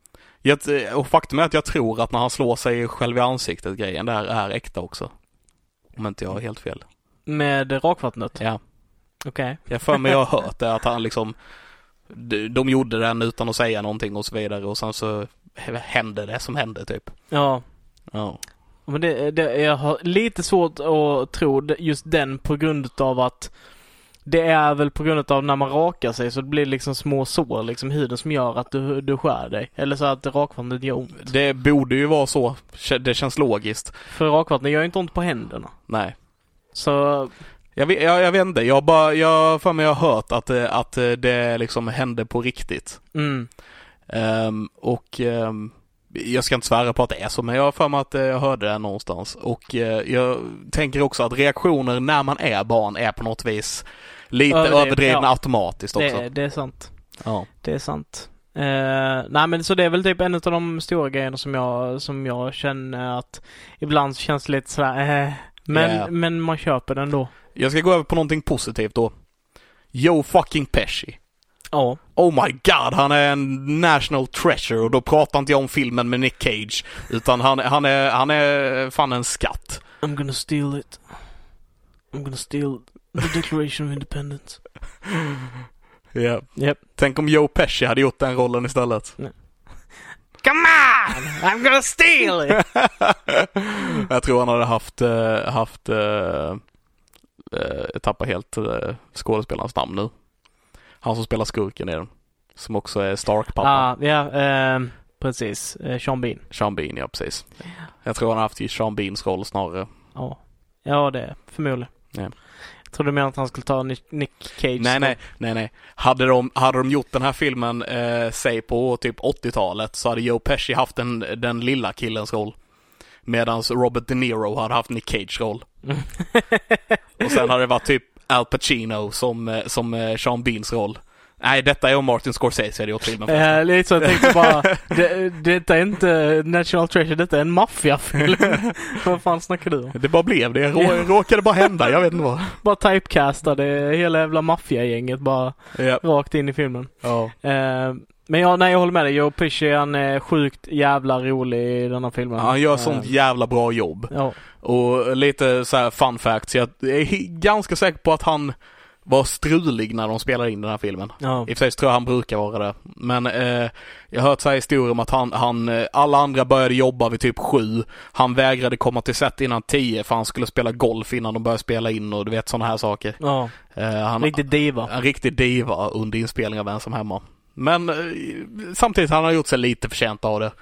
[SPEAKER 2] jag, t- och faktum är att jag tror att när han slår sig själv i ansiktet grejen där är äkta också. Om inte jag har helt fel.
[SPEAKER 1] Med rakvattnet?
[SPEAKER 2] Ja.
[SPEAKER 1] Okej.
[SPEAKER 2] Jag för mig jag har hört det att han liksom de de gjorde den utan att säga någonting och så vidare och sen så hände det som hände typ.
[SPEAKER 1] Ja.
[SPEAKER 2] Ja.
[SPEAKER 1] Men det, det, jag har lite svårt att tro det- just den på grund av att det är väl på grund av när man rakar sig så det blir liksom små sår liksom i huden som gör att du, du skär dig. Eller så att rakvattnet gör ont.
[SPEAKER 2] Det borde ju vara så. Kä- Det känns logiskt.
[SPEAKER 1] För rakvattnet gör ju inte ont på händerna.
[SPEAKER 2] Nej.
[SPEAKER 1] Så,
[SPEAKER 2] Jag vet, jag, jag vet inte. Jag bara, jag för mig jag har hört att, det- att det liksom hände på riktigt.
[SPEAKER 1] mm.
[SPEAKER 2] Ehm, och ehm, jag ska inte svära på att det är så, men jag har för mig att eh, jag hörde det någonstans. Och eh, jag tänker också att reaktioner när man är barn är på något vis lite
[SPEAKER 1] Överdriv-
[SPEAKER 2] överdrivna
[SPEAKER 1] ja.
[SPEAKER 2] automatiskt också.
[SPEAKER 1] Det, det är sant.
[SPEAKER 2] Ja.
[SPEAKER 1] Det är sant. Eh, nej men så det är väl typ en av de stora grejerna som jag, som jag känner att ibland känns det lite sådär eh, men,
[SPEAKER 2] Yeah.
[SPEAKER 1] men man köper den då.
[SPEAKER 2] Jag ska gå över på någonting positivt då. Joe fucking Pesci.
[SPEAKER 1] Ja.
[SPEAKER 2] Oh my god, han är en national treasure och då pratar inte jag om filmen med Nick Cage. Utan han, han, är, han är fan en skatt.
[SPEAKER 1] I'm gonna steal it. I'm gonna steal the declaration of independence.
[SPEAKER 2] Yeah.
[SPEAKER 1] Yep.
[SPEAKER 2] Tänk om Joe Pesci hade gjort den rollen istället.
[SPEAKER 1] Come on! I'm gonna steal it!
[SPEAKER 2] Jag tror han hade haft, eh, haft eh, eh, jag tappar helt eh, skådespelarens namn nu. Han som spelar skurken i den. Som också är Stark-pappa.
[SPEAKER 1] ah, ja, ehm, precis. Eh, Sean Bean.
[SPEAKER 2] Sean Bean, ja precis. Jag tror han har haft Sean Beans roll snarare.
[SPEAKER 1] Ja. Ja, det är förmodligen.
[SPEAKER 2] Ja.
[SPEAKER 1] Jag trodde mer att han skulle ta Ni- Nick Cage.
[SPEAKER 2] Nej, nej, nej, nej. Hade de, hade de gjort den här filmen, eh, säg på typ 80-talet, så hade Joe Pesci haft den, den lilla killens roll. Medan Robert De Niro hade haft Nick Cage roll. Och sen hade det varit typ Al Pacino som, eh, som eh, Sean Beans roll. Nej, detta är om Martin Scorsese hade gjort filmen. förresten.
[SPEAKER 1] Eh, lite så, jag tänkte bara, det, detta är inte National Treasure, detta är en maffiafilm. Vad fan snackar du om?
[SPEAKER 2] Det bara blev det. Rå, Råkade bara hända. Jag vet inte vad.
[SPEAKER 1] Bara typecastade hela jävla maffiagänget bara
[SPEAKER 2] Ja.
[SPEAKER 1] rakt in i filmen.
[SPEAKER 2] Ja.
[SPEAKER 1] Eh, men ja, nej jag håller med dig. Joe Pesci han är sjukt jävla rolig i den här filmen.
[SPEAKER 2] Han gör sånt
[SPEAKER 1] Eh,
[SPEAKER 2] jävla bra jobb.
[SPEAKER 1] Ja.
[SPEAKER 2] Och lite så här fun facts. Jag är he- ganska säker på att han var strulig när de spelade in den här filmen.
[SPEAKER 1] ja.
[SPEAKER 2] I och för sig så tror jag han brukar vara det. Men eh, jag har hört så här historier om att han, han, eh, alla andra började jobba vid typ sju. Han vägrade komma till set innan tio för han skulle spela golf innan de började spela in och du vet sådana här saker.
[SPEAKER 1] ja.
[SPEAKER 2] Eh, han,
[SPEAKER 1] Riktigt diva.
[SPEAKER 2] En riktig diva under inspelning av Ensam Hemma. Men eh, samtidigt, han har gjort sig lite förtjänt av det.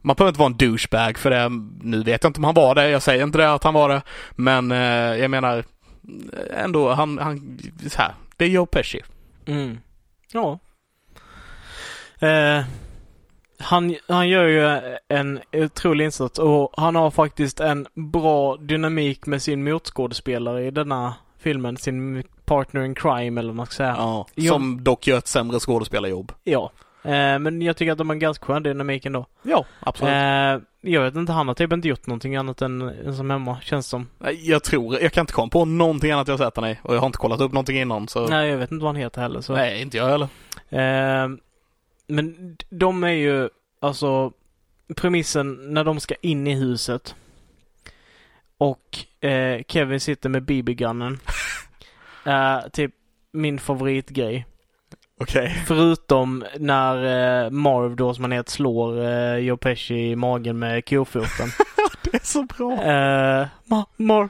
[SPEAKER 2] Man behöver inte vara en douchebag för det. Nu vet jag inte om han var det, jag säger inte det att han var det. Men eh, jag menar, ändå, han, han så här, det är Joe Pesci.
[SPEAKER 1] Mm. Ja. Eh, han, han gör ju en otrolig insats och han har faktiskt en bra dynamik med sin motskådespelare i denna filmen. Sin partner in crime eller vad man ska säga.
[SPEAKER 2] Ja,
[SPEAKER 1] Ja.
[SPEAKER 2] som dock gör ett sämre skådespelarjobb.
[SPEAKER 1] Ja. Eh, men jag tycker att de har en ganska skön dynamik ändå.
[SPEAKER 2] Ja, absolut.
[SPEAKER 1] Eh, jag vet inte, han har typ inte gjort någonting annat än, än som hemma, känns som.
[SPEAKER 2] Nej, Eh, Jag tror, jag kan inte komma på någonting annat jag sett han i. Och jag har inte kollat upp någonting innan så.
[SPEAKER 1] Nej, jag vet inte vad han heter heller. Så.
[SPEAKER 2] Nej, inte jag heller.
[SPEAKER 1] Eh, men d- de är ju, alltså, premissen när de ska in i huset och eh, Kevin sitter med BB-gunnen. eh, typ min favoritgrej.
[SPEAKER 2] Okej.
[SPEAKER 1] Förutom när eh, Marv då, som han heter, slår eh, Joe Pesci i magen med kofoten.
[SPEAKER 2] Det är så bra.
[SPEAKER 1] Eh, ma- Marv.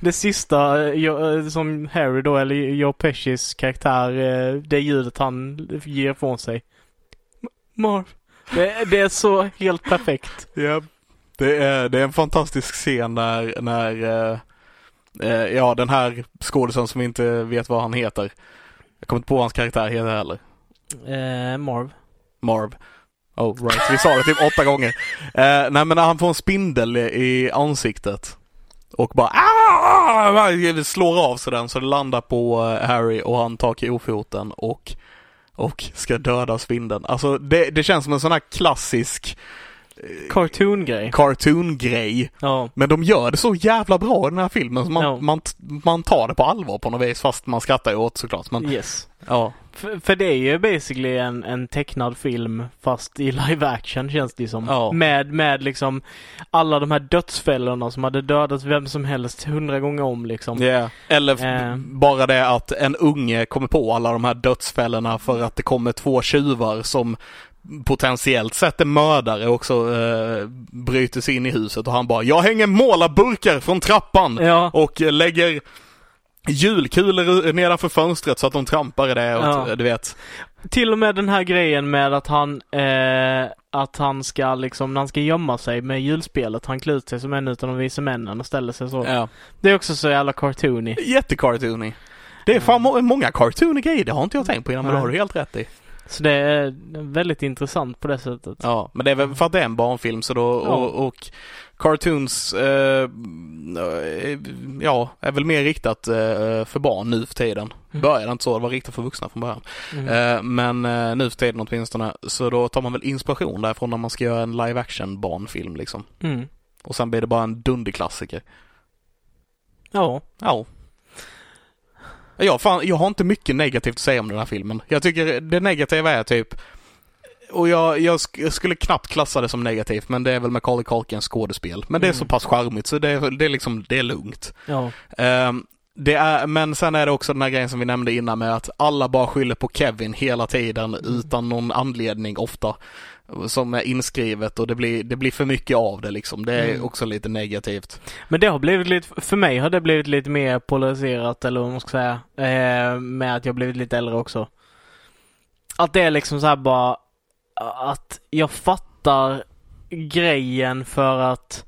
[SPEAKER 1] Det sista eh, jag- eh, som Harry då, eller Joe Pescis karaktär, eh, det ljudet han ger ifrån sig. Ma- Marv. Det, det är så helt perfekt.
[SPEAKER 2] Ja, det är, det är en fantastisk scen när, när eh, eh, ja, den här skådisen som vi inte vet vad han heter. Jag kommer inte på vad hans karaktär heter heller.
[SPEAKER 1] Eh, Marv.
[SPEAKER 2] Marv. Oh right, vi sa det typ åtta gånger. Eh, nej men när han får en spindel i- i ansiktet och bara "Ah!" slår av sig den så det landar på eh, Harry och han tar kofoten och, och ska döda spindeln. Alltså det, det känns som en sån här klassisk
[SPEAKER 1] Cartoon-grej.
[SPEAKER 2] cartoon-grej.
[SPEAKER 1] Ja.
[SPEAKER 2] Men de gör det så jävla bra i den här filmen så man,
[SPEAKER 1] Ja.
[SPEAKER 2] man, man tar det på allvar på något vis fast man skrattar ju åt såklart. Men,
[SPEAKER 1] Yes.
[SPEAKER 2] ja.
[SPEAKER 1] För, för det är ju basically en, en tecknad film fast i live action känns det ju som.
[SPEAKER 2] Ja.
[SPEAKER 1] Med, med liksom alla de här dödsfällorna som hade dödat vem som helst hundra gånger om liksom.
[SPEAKER 2] Eller f-
[SPEAKER 1] Eh.
[SPEAKER 2] bara det att en unge kommer på alla de här dödsfällorna för att det kommer två tjuvar som potentiellt sett är mördare och också eh, bryter sig in i huset och han bara Jag hänger målarburkar från trappan!
[SPEAKER 1] Ja.
[SPEAKER 2] Och eh, lägger julkulor nedanför fönstret så att de trampar i det och
[SPEAKER 1] Ja.
[SPEAKER 2] eh, du vet.
[SPEAKER 1] Till och med den här grejen med att han, eh, att han ska liksom, när han ska gömma sig med julspelet, han klär ut sig som en utav de vise männen och ställer sig så.
[SPEAKER 2] Ja.
[SPEAKER 1] Det är också så jävla cartoony.
[SPEAKER 2] Jättecartoonig. Det är fan må- många cartooniga grejer, det har inte jag tänkt på innan men det
[SPEAKER 1] Nej.
[SPEAKER 2] har du helt rätt i.
[SPEAKER 1] Så det är väldigt intressant på det sättet.
[SPEAKER 2] Ja, men det är väl för att det är en barnfilm så då,
[SPEAKER 1] Ja.
[SPEAKER 2] och, och cartoons, eh, ja, är väl mer riktat eh, för barn nu för tiden.
[SPEAKER 1] Mm.
[SPEAKER 2] Började det inte så, det var riktat för vuxna från början.
[SPEAKER 1] Mm.
[SPEAKER 2] Eh, men eh, nu för tiden åtminstone, så då tar man väl inspiration därifrån när man ska göra en live action barnfilm liksom.
[SPEAKER 1] Mm.
[SPEAKER 2] Och sen blir det bara en dunderklassiker.
[SPEAKER 1] Ja.
[SPEAKER 2] Ja. Ja, fan, jag har inte mycket negativt att säga om den här filmen. Jag tycker det negativa är typ... Och jag, jag, sk- jag skulle knappt klassa det som negativt, men det är väl Macaulay Culkins skådespel. Men det är
[SPEAKER 1] Mm.
[SPEAKER 2] så pass charmigt så det är, det är liksom, det är lugnt.
[SPEAKER 1] Ja.
[SPEAKER 2] Ehm, det är, men sen är det också den här grejen som vi nämnde innan med att alla bara skyller på Kevin hela tiden
[SPEAKER 1] Mm.
[SPEAKER 2] utan någon anledning ofta. Som är inskrivet och det blir, det blir för mycket av det liksom. Det är
[SPEAKER 1] Mm.
[SPEAKER 2] också lite negativt.
[SPEAKER 1] Men det har blivit lite, för mig har det blivit lite mer polariserat eller vad man ska säga. Eh, med att jag blivit lite äldre också. Att det är liksom så här bara att jag fattar grejen för att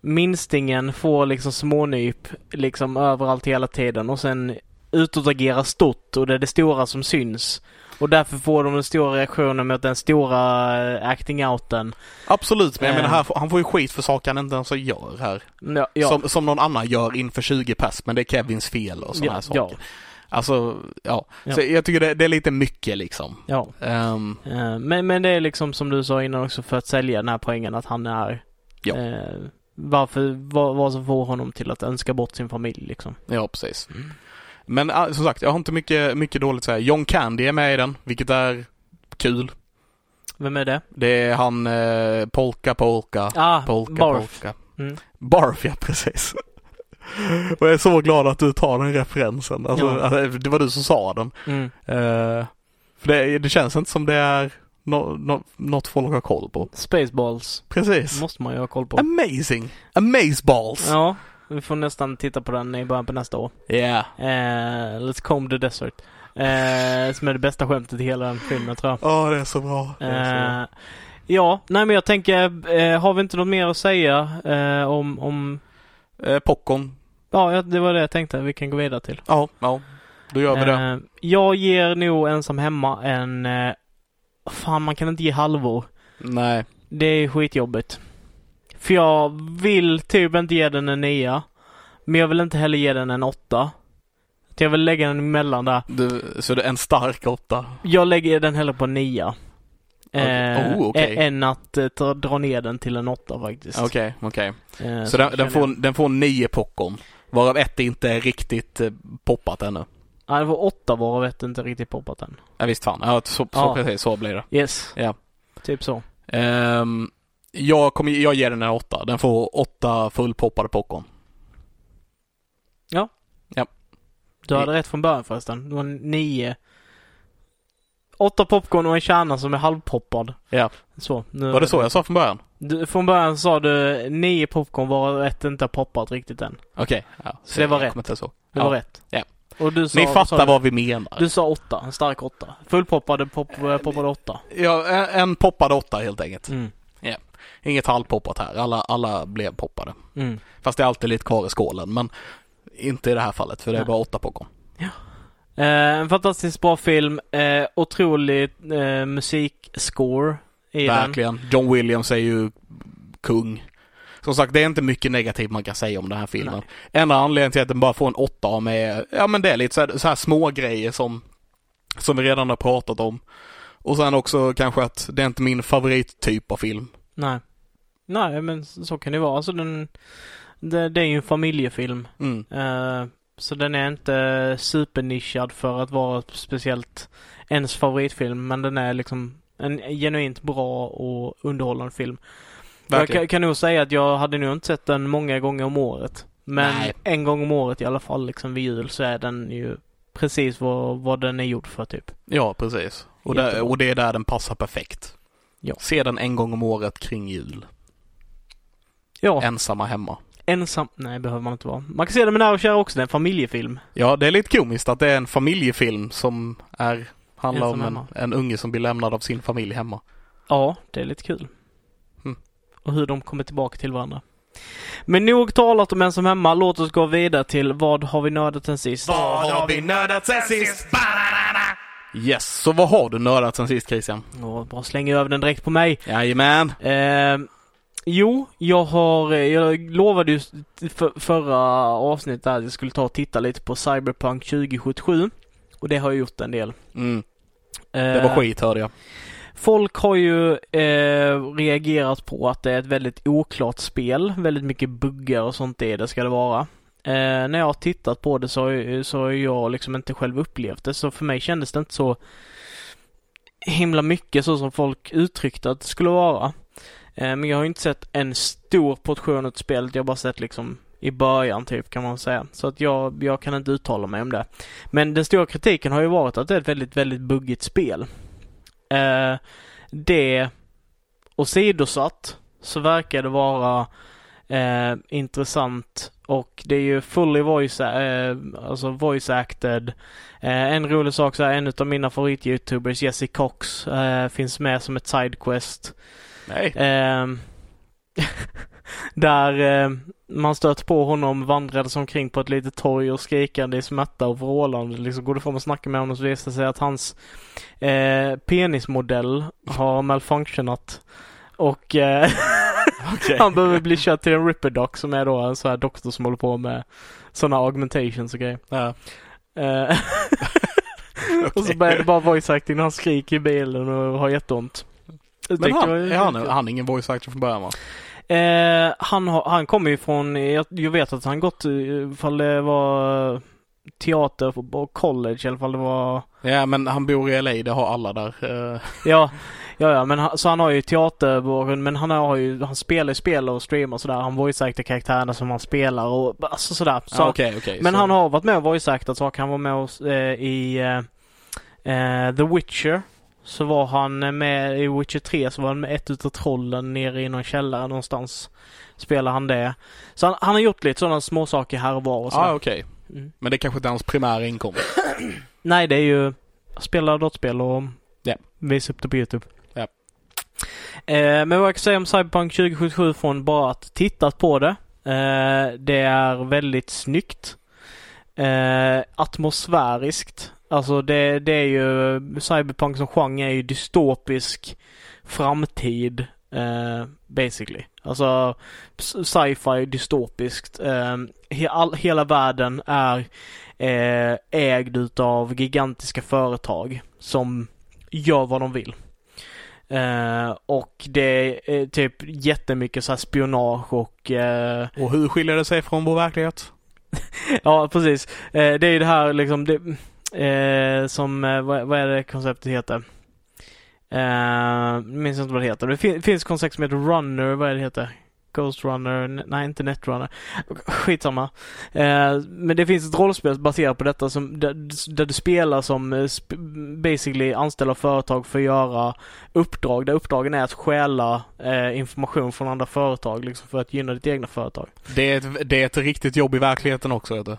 [SPEAKER 1] minstingen får liksom smånyp liksom överallt hela tiden och sen utåtagera stort och det är det stora som syns. Och därför får de den stora reaktionen mot den stora eh, acting outen.
[SPEAKER 2] Absolut, men jag
[SPEAKER 1] Eh.
[SPEAKER 2] menar här, får- han får ju skit för saker han inte ens gör här.
[SPEAKER 1] Ja, ja,
[SPEAKER 2] Som, som någon annan gör inför 20 pers, men det är Kevins fel och sådana
[SPEAKER 1] ja,
[SPEAKER 2] här saker.
[SPEAKER 1] ja,
[SPEAKER 2] Alltså, ja. Så
[SPEAKER 1] Ja.
[SPEAKER 2] jag tycker det, det är lite mycket liksom.
[SPEAKER 1] ja.
[SPEAKER 2] Ehm,
[SPEAKER 1] Eh, Men, men det är liksom som du sa innan också för att sälja den här poängen att han är...
[SPEAKER 2] Ja.
[SPEAKER 1] Eh, varför, vad, vad som får honom till att önska bort sin familj liksom.
[SPEAKER 2] ja, precis. Men ah, som sagt, jag har inte mycket, mycket dåligt att säga. John Candy är med i den, vilket är kul.
[SPEAKER 1] Vem är det?
[SPEAKER 2] Det är han eh, Polka Polka.
[SPEAKER 1] Ah,
[SPEAKER 2] Polka
[SPEAKER 1] Barf.
[SPEAKER 2] Polka.
[SPEAKER 1] Mm.
[SPEAKER 2] Barf, ja precis. Och jag är så glad att du tar den referensen. Alltså,
[SPEAKER 1] Ja.
[SPEAKER 2] att Det var du som sa den.
[SPEAKER 1] Mm.
[SPEAKER 2] Eh, för det, det känns inte som det är no, no, något folk har koll på.
[SPEAKER 1] Spaceballs.
[SPEAKER 2] Precis.
[SPEAKER 1] Måste man ju ha koll på.
[SPEAKER 2] Amazing! Amazeballs! Ja.
[SPEAKER 1] Ja, vi får nästan titta på den i början på nästa år.
[SPEAKER 2] Yeah.
[SPEAKER 1] Eh, Let's comb the desert. Eh, som är det bästa skämtet i hela den filmen tror jag.
[SPEAKER 2] Ja, det är så bra. Det är så bra.
[SPEAKER 1] Eh, ja, nej men jag tänker, eh, har vi inte något mer att säga eh, om, om...
[SPEAKER 2] Eh, popcorn.
[SPEAKER 1] Ja, jag- det var det jag tänkte. Vi kan gå vidare till.
[SPEAKER 2] Ja, ja. Då gör vi det.
[SPEAKER 1] Eh, jag ger nog Ensam Hemma en... Eh, fan, man kan inte ge halvor.
[SPEAKER 2] Nej.
[SPEAKER 1] Det är skitjobbigt. För jag vill typ inte ge den en nia. Men jag vill inte heller ge den en åtta. Utan Jag vill lägga den emellan där.
[SPEAKER 2] Du, så det är en stark åtta.
[SPEAKER 1] Jag lägger den hellre på en nia.
[SPEAKER 2] Okej.
[SPEAKER 1] Eh,
[SPEAKER 2] Oh, okej.
[SPEAKER 1] ä- Än att eh, ta, dra ner den till en åtta faktiskt.
[SPEAKER 2] Okej, okej.
[SPEAKER 1] Eh,
[SPEAKER 2] Så den,
[SPEAKER 1] känner
[SPEAKER 2] den, får, den får nio popcorn. Varav ett inte är riktigt eh, poppat ännu.
[SPEAKER 1] jag. Ja, det var åtta varav ett inte riktigt poppat än.
[SPEAKER 2] Ja, visst fan. Ja, så, så
[SPEAKER 1] Ja.
[SPEAKER 2] precis. Så blir det.
[SPEAKER 1] Yes.
[SPEAKER 2] Ja.
[SPEAKER 1] Typ så.
[SPEAKER 2] Ehm, jag, kommer, jag ger den en åtta. Den får åtta fullpoppade popcorn.
[SPEAKER 1] Du hade rätt från början förresten. Det var nio. Åtta popcorn och en kärna som är halvpoppad.
[SPEAKER 2] Ja.
[SPEAKER 1] Så. Nu
[SPEAKER 2] Var det så jag sa från början?
[SPEAKER 1] Du, från början sa du nio popcorn varav ett inte har poppat riktigt än.
[SPEAKER 2] Okej. Ja,
[SPEAKER 1] Så det var
[SPEAKER 2] jag
[SPEAKER 1] rätt.
[SPEAKER 2] kommer inte ihåg.
[SPEAKER 1] Det
[SPEAKER 2] Ja.
[SPEAKER 1] var rätt.
[SPEAKER 2] Ja.
[SPEAKER 1] Och du sa,
[SPEAKER 2] Ni
[SPEAKER 1] sa
[SPEAKER 2] fattar
[SPEAKER 1] du,
[SPEAKER 2] vad vi menar.
[SPEAKER 1] Du sa åtta, en stark åtta. Fullpoppade pop, eh, poppade åtta.
[SPEAKER 2] Ja, en, en poppad åtta helt enkelt.
[SPEAKER 1] Mm.
[SPEAKER 2] Inget halvpoppat här. Alla, alla blev poppade.
[SPEAKER 1] Mm.
[SPEAKER 2] Fast det är alltid lite kvar i skålen. Men inte i det här fallet för det är
[SPEAKER 1] Nej.
[SPEAKER 2] bara åtta popcorn.
[SPEAKER 1] Eh, en fantastiskt bra film. Eh, otrolig eh, musikscore i den.
[SPEAKER 2] Verkligen. John Williams är ju kung. Som sagt, det är inte mycket negativt man kan säga om den här filmen. Enda anledningen till att den bara får en åtta av mig är, ja men det är lite så här, så här små grejer som, som vi redan har pratat om. Och sen också kanske att det är inte min favorittyp av film.
[SPEAKER 1] Nej. Nej, men så så kan det vara. Alltså den, det, det är ju en familjefilm.
[SPEAKER 2] Mm.
[SPEAKER 1] Eh, så den är inte supernischad för att vara speciellt ens favoritfilm. Men den är liksom en genuint bra och underhållande film. Jag
[SPEAKER 2] Verkligen.
[SPEAKER 1] kan, kan nog säga att jag hade nog inte sett den många gånger om året. Men
[SPEAKER 2] Nej.
[SPEAKER 1] en gång om året i alla fall liksom vid jul så är den ju precis vad, vad den är gjord för typ.
[SPEAKER 2] Ja, precis. Och, där,
[SPEAKER 1] Jättebra.
[SPEAKER 2] och det är där den passar perfekt.
[SPEAKER 1] Ja.
[SPEAKER 2] Se den en gång om året kring jul.
[SPEAKER 1] Ja,
[SPEAKER 2] Ensamma hemma.
[SPEAKER 1] ensam. Nej, behöver man inte vara. Man kan se den med nära och kära också. Det är en familjefilm.
[SPEAKER 2] Ja, det är lite komiskt att det är en familjefilm som är, handlar
[SPEAKER 1] Ensam
[SPEAKER 2] om
[SPEAKER 1] hemma.
[SPEAKER 2] en, en unge som blir lämnad av sin familj hemma.
[SPEAKER 1] Ja, det är lite kul.
[SPEAKER 2] Mm.
[SPEAKER 1] Och hur de kommer tillbaka till varandra. Men nog talat om ensam hemma. Låt oss gå vidare till vad har vi nördat sen sist?
[SPEAKER 2] Vad har vi nördat sen sist? Yes, så vad har du nördat sen sist Christian?
[SPEAKER 1] Åh, bara slänger över den direkt på mig.
[SPEAKER 2] Jajamän.
[SPEAKER 1] Eh, jo, jag har, eh, jag lovade ju för, förra avsnittet att jag skulle ta och titta lite på Cyberpunk 2077. Och det har jag gjort en del.
[SPEAKER 2] Mm,
[SPEAKER 1] Eh,
[SPEAKER 2] det var skit hörde jag.
[SPEAKER 1] Folk har ju eh, reagerat på att det är ett väldigt oklart spel. Väldigt mycket buggar och sånt i det ska det vara. Eh, när jag har tittat på det så har, ju- så har jag liksom inte själv upplevt det så för mig kändes det inte så himla mycket så som folk uttryckte att det skulle vara. Eh, men jag har ju inte sett en stor portion av spelet. Jag har bara sett liksom i början typ kan man säga. Så att jag, jag kan inte uttala mig om det. Men den stora kritiken har ju varit att det är ett väldigt, väldigt buggigt spel. Eh, det åsidosatt så verkar det vara eh, intressant och det är ju fully voice, eh, alltså voice acted. Eh, en rolig sak så här, en av mina favorit-youtubers, Jesse Cox, eh, finns med som ett sidequest.
[SPEAKER 2] Nej.
[SPEAKER 1] Ehm, Där eh, man stöt på honom vandrandes omkring på ett litet torg och skrikande i smärta och vrålande. Liksom går du fram och snackar med honom så visar det sig att hans eh, penismodell har malfunctionat. Och eh,
[SPEAKER 2] Okej.
[SPEAKER 1] han behöver bli körd till en ripperdoc som är då en sån här doktor som håller på med sådana augmentations och grejer.
[SPEAKER 2] Ja.
[SPEAKER 1] Eh, och så börjar det bara voice acting och han skriker i bilen och har jätteont. Jag
[SPEAKER 2] Men
[SPEAKER 1] tyckte
[SPEAKER 2] han,
[SPEAKER 1] det var-
[SPEAKER 2] är han, han är ingen voice actor från början va?
[SPEAKER 1] Eh, han, har- han kommer ju från, jag, jag vet att han gått, eh, ifall det var eh, teater och college eller ifall det var,
[SPEAKER 2] Ja men han bor i LA, det har alla där. Eh,
[SPEAKER 1] ja, ja, ja men han, så han har ju teaterbakgrund men han har ju, han spelar ju spel och streamar och sådär. Han voice-actar karaktärerna som han spelar och alltså sådär. Så,
[SPEAKER 2] ja, ah, okej, okej.
[SPEAKER 1] Men
[SPEAKER 2] så-
[SPEAKER 1] han har varit med och voice-actat saker. Han var med oss, eh, i eh, eh, The Witcher. Så var han med i Witcher 3 så var han med ett utav trollen nere i någon källare någonstans. Spelar han det. Så han, han har gjort lite sådana små saker här och var och så.
[SPEAKER 2] Ja Ah, okej.
[SPEAKER 1] Mm.
[SPEAKER 2] Men det kanske inte är hans primära inkomst.
[SPEAKER 1] Nej det är ju spela dataspel och
[SPEAKER 2] Ja.
[SPEAKER 1] visa upp det på Youtube.
[SPEAKER 2] Ja.
[SPEAKER 1] Eh, men vad jag kan säga om Cyberpunk 2077 från bara att tittat på det. Eh, det är väldigt snyggt. Eh, atmosfäriskt. Alltså det, det är ju Cyberpunk som genre är ju dystopisk framtid. Eh, basically. Alltså s- sci-fi dystopiskt. Eh, he, all, hela världen är eh, ägd utav gigantiska företag som gör vad de vill. Eh, och det är typ jättemycket så här spionage och eh,
[SPEAKER 2] Och hur skiljer det sig från vår verklighet?
[SPEAKER 1] Ja, precis. Eh, det är ju det här liksom, det, eh, som, eh, vad, vad är det konceptet heter? Eh, minns inte vad det heter. Det fin, finns ett koncept som heter Runner, vad är det heter? Ghost Runner, n- nej inte Netrunner. Skitsamma. Eh, men det finns ett rollspel baserat på detta som, där, där du spelar som eh, sp- basically anställda företag för att göra uppdrag. Där uppdragen är att stjäla eh, information från andra företag liksom för att gynna ditt egna företag.
[SPEAKER 2] Det är ett, det är ett riktigt jobb i verkligheten också vet du.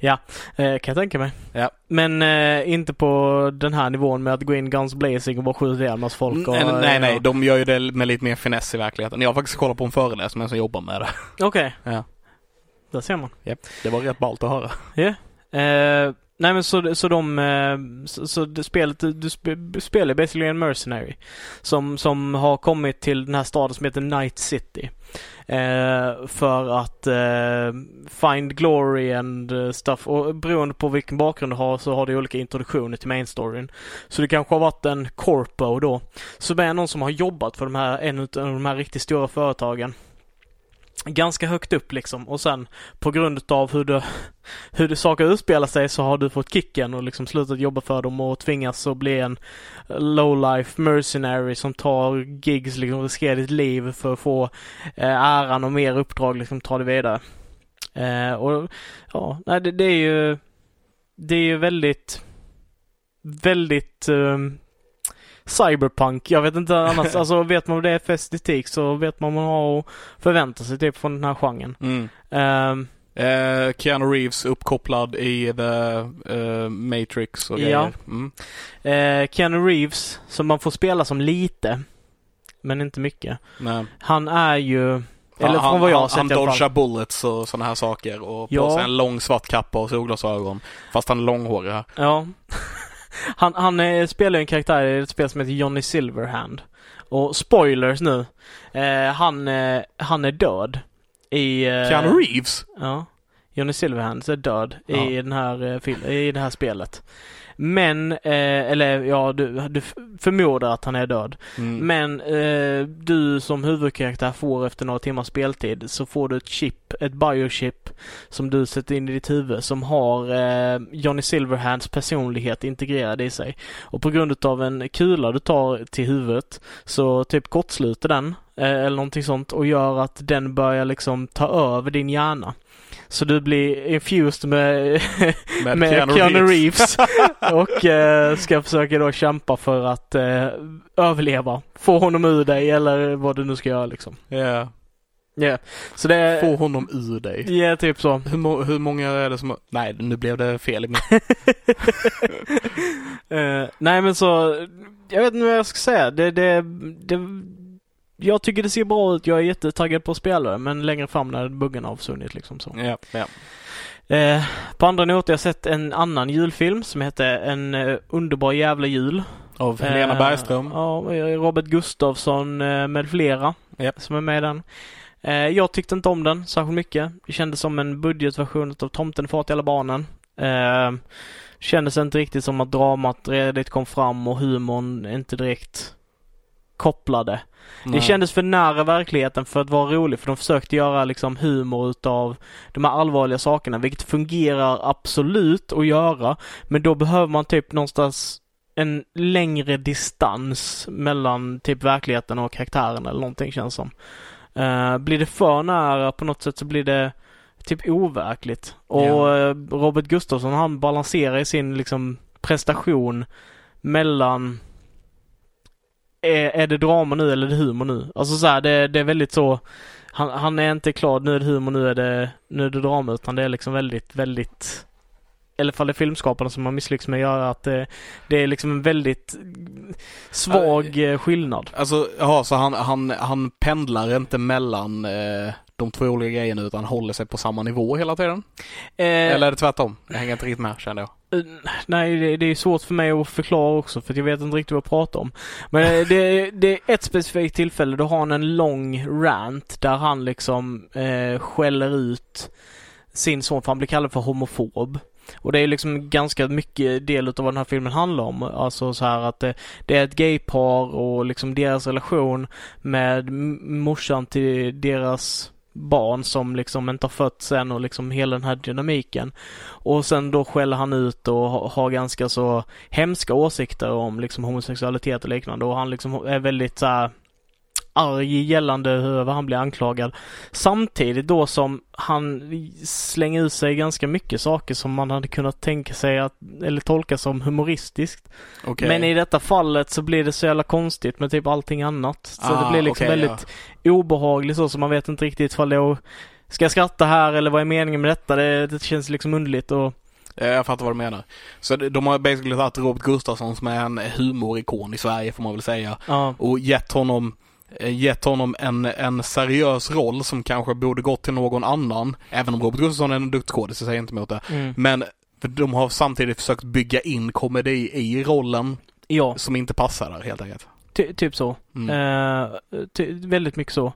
[SPEAKER 1] Eh, kan jag tänka mig.
[SPEAKER 2] Ja.
[SPEAKER 1] Men eh, inte på den här nivån med att gå in guns blazing och bara skjuta ihjäl massa folk. Och, eh,
[SPEAKER 2] Nej, Mm, nej, nej,
[SPEAKER 1] och-
[SPEAKER 2] de gör ju det med lite mer finess i verkligheten. Jag har faktiskt kollat på en föreläsning med en som jobbar med det.
[SPEAKER 1] Okej.
[SPEAKER 2] Ja.
[SPEAKER 1] Där ser man.
[SPEAKER 2] Det var rätt ballt att höra.
[SPEAKER 1] Eh, nej men så, så de, eh, så, så det spelet, du, du sp- spelar basically en mercenary. Som, som har kommit till den här staden som heter Night City. Eh, för att eh, find glory and eh, stuff. Och beroende på vilken bakgrund du har så har du olika introduktioner till main storyn. Så det kanske har varit en corpo då. Som är någon som har jobbat för de här, en av de här riktigt stora företagen. Ganska högt upp liksom och sen på grund av hur det hur det saker utspelar sig så har du fått kicken och liksom slutat jobba för dem och tvingas att bli en lowlife mercenary som tar gigs, liksom riskerar ditt liv för att få eh, äran och mer uppdrag, liksom ta det vidare. Eh, och ja, nej, det, det är ju det är ju väldigt väldigt ehm, cyberpunk. Jag vet inte annars, alltså vet man vad det är för estetik så vet man vad man har att förvänta sig typ från den här genren.
[SPEAKER 2] Mm.
[SPEAKER 1] Ehm,
[SPEAKER 2] Eh, Keanu Reeves uppkopplad i The eh, Matrix och
[SPEAKER 1] Ja.
[SPEAKER 2] grejer. Mm.
[SPEAKER 1] Eh, Keanu Reeves, som man får spela som lite, men inte mycket.
[SPEAKER 2] Men,
[SPEAKER 1] Han är ju, eller
[SPEAKER 2] han,
[SPEAKER 1] från vad jag har
[SPEAKER 2] han,
[SPEAKER 1] sett
[SPEAKER 2] han
[SPEAKER 1] i alla
[SPEAKER 2] dodgar
[SPEAKER 1] fall.
[SPEAKER 2] bullets och sådana här saker och på
[SPEAKER 1] Ja.
[SPEAKER 2] sig en lång svart kappa och solglasögon. Fast han är långhårig här.
[SPEAKER 1] Ja. han han eh, spelar ju en karaktär i ett spel som heter Johnny Silverhand. Och spoilers nu. Eh, han, eh, han är död. I... Eh,
[SPEAKER 2] Keanu Reeves?
[SPEAKER 1] Ja. Johnny Silverhand är död i,
[SPEAKER 2] Ja.
[SPEAKER 1] den här, eh, fil- i det här spelet. Men, eh, eller ja, du, du f- förmodar att han är död.
[SPEAKER 2] Mm.
[SPEAKER 1] Men eh, du som huvudkaraktär får efter några timmars speltid så får du ett chip, ett biochip som du sätter in i ditt huvud som har eh, Johnny Silverhands personlighet integrerad i sig. Och på grund av en kula du tar till huvudet så typ kortsluter den eh, eller någonting sånt och gör att den börjar liksom ta över din hjärna. Så du blir infused med
[SPEAKER 2] Med,
[SPEAKER 1] med Keanu, Reeves. och eh, ska försöka då kämpa för att eh, överleva. Få honom ur dig eller vad du nu ska göra liksom.
[SPEAKER 2] Ja.
[SPEAKER 1] Yeah. Så det är...
[SPEAKER 2] Få honom ur dig.
[SPEAKER 1] Ja, typ så.
[SPEAKER 2] Hur, må- hur många är det som har- Nej, nu blev det fel i min...
[SPEAKER 1] Eh, nej men så, jag vet inte vad jag ska säga. Det, det, det, Jag tycker det ser bra ut. Jag är jättetaggad på att spela det, men längre fram när buggen har försvunnit liksom så.
[SPEAKER 2] Ja, ja.
[SPEAKER 1] Eh, på andra noter har jag sett en annan julfilm som heter En eh, underbar jävla jul.
[SPEAKER 2] Av Helena
[SPEAKER 1] Eh,
[SPEAKER 2] Bergström.
[SPEAKER 1] Ja, eh, Robert Gustafsson eh, med flera
[SPEAKER 2] Japp.
[SPEAKER 1] som är med i den. Eh, Jag tyckte inte om den särskilt mycket. Det kändes som en budgetversion av Tomten far till alla barnen. Eh, Kändes inte riktigt som att dramat redigt kom fram och humorn inte direkt kopplade.
[SPEAKER 2] Nej.
[SPEAKER 1] Det kändes för nära verkligheten för att vara rolig för de försökte göra liksom humor utav de här allvarliga sakerna vilket fungerar absolut att göra men då behöver man typ någonstans en längre distans mellan typ verkligheten och karaktären eller någonting känns som. Eh, blir det för nära på något sätt så blir det typ overkligt. Och
[SPEAKER 2] Ja.
[SPEAKER 1] eh, Robert Gustafsson han balanserar i sin liksom prestation mellan är, är det drama nu eller är det humor nu? Alltså så här, det, det är väldigt så han, han är inte klar, nu är det humor, nu är det, nu är det drama utan det är liksom väldigt, väldigt i alla fall det är filmskaparna som har misslyckats med att göra att det, det är liksom en väldigt svag eh, skillnad.
[SPEAKER 2] Alltså, ja, så han, han, han pendlar inte mellan eh, de två olika grejerna utan håller sig på samma nivå hela tiden?
[SPEAKER 1] Eh,
[SPEAKER 2] Eller är det tvärtom? Jag hänger inte riktigt med känner jag.
[SPEAKER 1] Eh, Nej, det, det är svårt för mig att förklara också för att jag vet inte riktigt vad jag pratar om. Men eh, det, det är ett specifikt tillfälle då har han en lång rant där han liksom eh, skäller ut sin son för han blir kallad för homofob. Och det är liksom ganska mycket del utav vad den här filmen handlar om. Alltså så här att det, det är ett gaypar och liksom deras relation med m- morsan till deras barn som liksom inte har fötts än och liksom hela den här dynamiken. Och sen då skäller han ut och ha- har ganska så hemska åsikter om liksom homosexualitet och liknande och han liksom är väldigt så här arg gällande över han blir anklagad. Samtidigt då som han slänger ut sig ganska mycket saker som man hade kunnat tänka sig att, eller tolka som humoristiskt.
[SPEAKER 2] Okej.
[SPEAKER 1] Men i detta fallet så blir det så jävla konstigt med typ allting annat. Så
[SPEAKER 2] Ah,
[SPEAKER 1] det blir liksom
[SPEAKER 2] okej,
[SPEAKER 1] väldigt obehaglig så, så man vet inte riktigt ifall jag ska jag skratta här eller vad är meningen med detta? Det, det känns liksom underligt och
[SPEAKER 2] Ja. Jag fattar vad du menar. Så det- de har basically tagit Robert Gustafsson som är en humorikon i Sverige får man väl säga
[SPEAKER 1] ja.
[SPEAKER 2] och gett honom eh, gett honom en, en seriös roll som kanske borde gått till någon annan. Även om Robert Gustafsson är en duktig skådis, jag säger inte emot det.
[SPEAKER 1] Mm.
[SPEAKER 2] Men för de har samtidigt försökt bygga in komedi i rollen
[SPEAKER 1] Ja,
[SPEAKER 2] som inte passar där helt enkelt.
[SPEAKER 1] ty, typ så.
[SPEAKER 2] Mm.
[SPEAKER 1] Eh, ty, väldigt mycket så.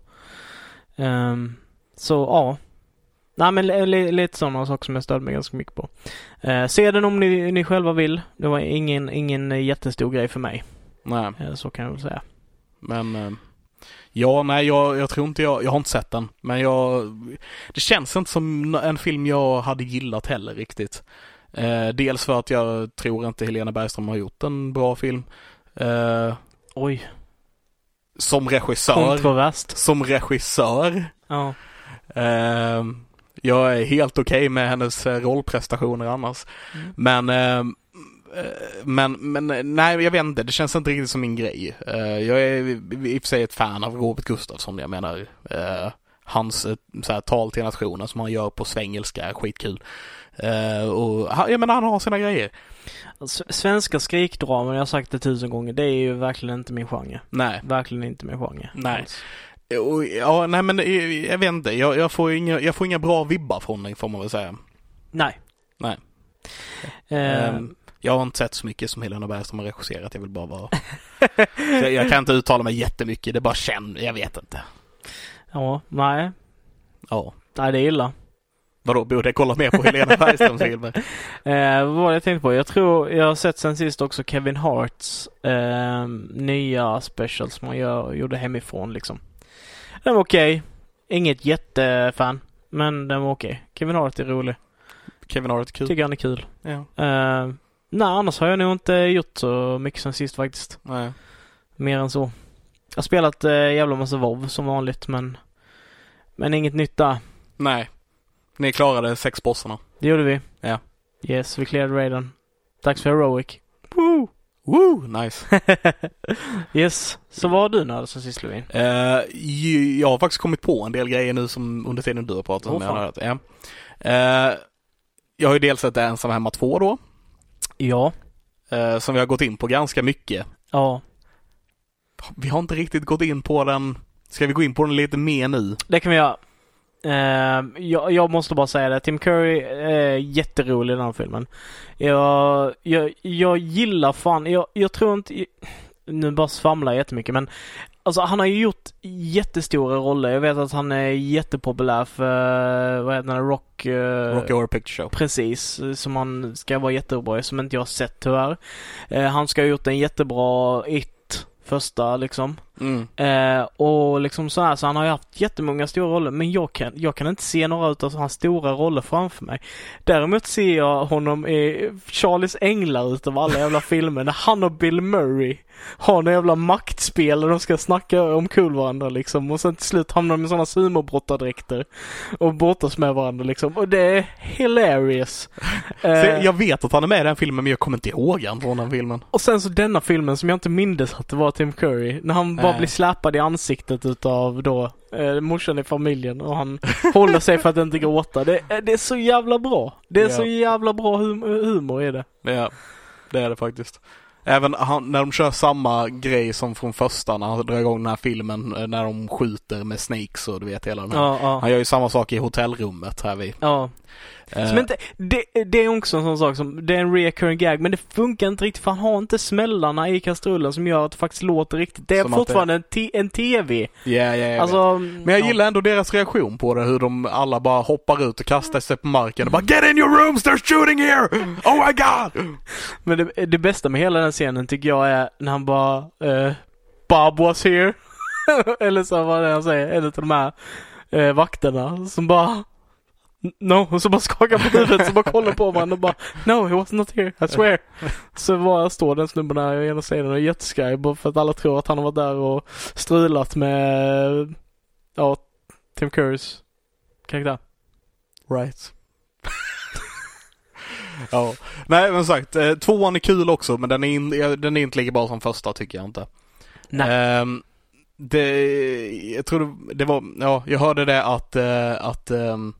[SPEAKER 1] Ehm, så ja. Nej men li, li, lite sådana saker som jag störde mig ganska mycket på. Eh, se den om ni, ni själva vill. Det var ingen, ingen jättestor grej för mig.
[SPEAKER 2] Nej,
[SPEAKER 1] Eh, så kan jag väl säga.
[SPEAKER 2] men... eh, Ja, nej, jag, jag tror inte jag... Jag har inte sett den, men jag... Det känns inte som n- en film jag hade gillat heller riktigt. Eh, dels för att jag tror inte Helena Bergström har gjort en bra film. Eh,
[SPEAKER 1] Oj,
[SPEAKER 2] som regissör.
[SPEAKER 1] kontroverst.
[SPEAKER 2] som regissör.
[SPEAKER 1] Ja.
[SPEAKER 2] Eh, jag är helt okej med hennes eh, rollprestationer annars.
[SPEAKER 1] Mm.
[SPEAKER 2] Men, ehm, eh, men, men eh, nej jag vet inte, det känns inte riktigt som min grej. Eh, jag är i i och för sig ett fan av Robert Gustafsson, jag menar. eh, hans eh, så här, tal till nationen som han gör på svengelska är skitkul. Eh, och han, jag menar han har sina grejer.
[SPEAKER 1] S- Svenska skrikdramer, jag har sagt det tusen gånger, det är ju verkligen inte min genre.
[SPEAKER 2] Nej.
[SPEAKER 1] Verkligen inte min genre.
[SPEAKER 2] Nej.
[SPEAKER 1] Alls.
[SPEAKER 2] Och, ja, nej men eh, jag vet inte, jag, jag, får inga, jag får inga bra vibbar från den får man väl säga.
[SPEAKER 1] Nej.
[SPEAKER 2] Nej.
[SPEAKER 1] Eh,
[SPEAKER 2] Ehm, jag har inte sett så mycket som Helena Bergström har regisserat. Jag vill bara vara... Så jag, jag kan inte uttala mig jättemycket. Det bara känner... Jag vet inte.
[SPEAKER 1] ja, nej.
[SPEAKER 2] Ja.
[SPEAKER 1] Nej, det är illa.
[SPEAKER 2] Vadå, borde jag kolla mer på Helena Bergströms filmer?
[SPEAKER 1] Eh, vad var det jag tänkte på? Jag tror, jag har sett sen sist också Kevin Harts eh, nya special som han gör, gjorde hemifrån liksom. Den var okej. Inget jättefan. Men den var okej. Kevin Hart är rolig.
[SPEAKER 2] Kevin Hart, kul.
[SPEAKER 1] Tycker han är kul.
[SPEAKER 2] Ja.
[SPEAKER 1] Eh, nej, annars har jag nog inte gjort så mycket sen sist faktiskt.
[SPEAKER 2] Nej.
[SPEAKER 1] Mer än så. Jag har spelat eh, jävla massa WoW som vanligt men Men inget nytt där.
[SPEAKER 2] Nej. Ni klarade sex bossarna.
[SPEAKER 1] Det gjorde vi.
[SPEAKER 2] Ja.
[SPEAKER 1] Yes, vi cleared raiden. Dags för Heroic.
[SPEAKER 2] Woo! Woo! Nice.
[SPEAKER 1] yes. Så vad har du när som sist Levin?
[SPEAKER 2] Eh, ju- jag har faktiskt kommit på en del grejer nu som under tiden du har pratat om.
[SPEAKER 1] Åh,
[SPEAKER 2] jag, har
[SPEAKER 1] fan.
[SPEAKER 2] hört. Ja. Eh, jag har ju dels sett Ensam hemma 2 då.
[SPEAKER 1] Ja.
[SPEAKER 2] eh, som vi har gått in på ganska mycket.
[SPEAKER 1] Ja.
[SPEAKER 2] Vi har inte riktigt gått in på den Ska vi gå in på den lite mer nu?
[SPEAKER 1] Det kan vi göra. Eh, jag, jag måste bara säga det. Tim Curry är jätterolig i den här filmen. Jag, jag, jag gillar fan, jag, jag tror inte... Nu bara svamlar jag jättemycket men Alltså han har ju gjort jättestora roller. Jag vet att han är jättepopulär för, eh, vad heter den, Rock... eh,
[SPEAKER 2] Rocky Horror Picture Show.
[SPEAKER 1] Precis, som han ska vara jättebra i, som inte jag har sett tyvärr. Eh, han ska ha gjort en jättebra It, första liksom.
[SPEAKER 2] Mm.
[SPEAKER 1] Eh, och liksom så här, så han har ju haft jättemånga stora roller men jag kan, jag kan inte se några utav hans stora roller framför mig. Däremot ser jag honom i Charlies Änglar utav alla jävla filmer när han och Bill Murray har några jävla maktspel och de ska snacka omkull varandra liksom och sen till slut hamnar de i sådana sumobrottardräkter och brottas med varandra liksom och det är hilarious.
[SPEAKER 2] Så
[SPEAKER 1] Eh,
[SPEAKER 2] jag vet att han är med i den filmen men jag kommer inte ihåg han från den filmen.
[SPEAKER 1] och sen så denna filmen som jag inte mindes att det var Tim Curry. När han bara
[SPEAKER 2] Nej.
[SPEAKER 1] blir släpad i ansiktet utav då eh, morsan i familjen och han håller sig för att inte gråta. Det, är- det är så jävla bra. Det är
[SPEAKER 2] Ja.
[SPEAKER 1] så jävla bra hum- humor i det.
[SPEAKER 2] Ja, det är det faktiskt. Även han, när de kör samma grej som från första när han drar igång den här filmen eh, när de skjuter med snakes och du vet hela den här.
[SPEAKER 1] Ja, ja.
[SPEAKER 2] Han gör ju samma sak i hotellrummet här vid.
[SPEAKER 1] ja.
[SPEAKER 2] Eh,
[SPEAKER 1] Som inte, det, det är också en sån sak som, det är en recurring gag men det funkar inte riktigt för han har inte smällarna i kastrullen som gör att det faktiskt låter riktigt. Det är
[SPEAKER 2] Som att det-
[SPEAKER 1] fortfarande en, t- en TV.
[SPEAKER 2] ja, ja, jag vet.
[SPEAKER 1] alltså,
[SPEAKER 2] Men jag gillar ändå deras reaktion på det, hur de alla bara hoppar ut och kastar sig på marken och bara Get in your rooms, they're shooting here! Oh my god!
[SPEAKER 1] Men det, det bästa med hela den scenen tycker jag är när han bara eh, Bob was here. Eller så vad det är han säger, en av de här eh, vakterna som bara No, och så bara skakar på huvudet så bara kollar på varandra och bara No, he was not here, I swear. Så bara står den snubben där i ena sidan och är jätteskraj bara för att alla tror att han har varit där och strulat med Ja, Tim Currys karaktär.
[SPEAKER 2] Right. ja. Nej men som sagt, eh, tvåan är kul också men den är, in, eh, den är inte lika bra som första tycker jag inte.
[SPEAKER 1] Nej.
[SPEAKER 2] Ehm, det, jag tror det, det var, ja jag hörde det att, eh, att ehm,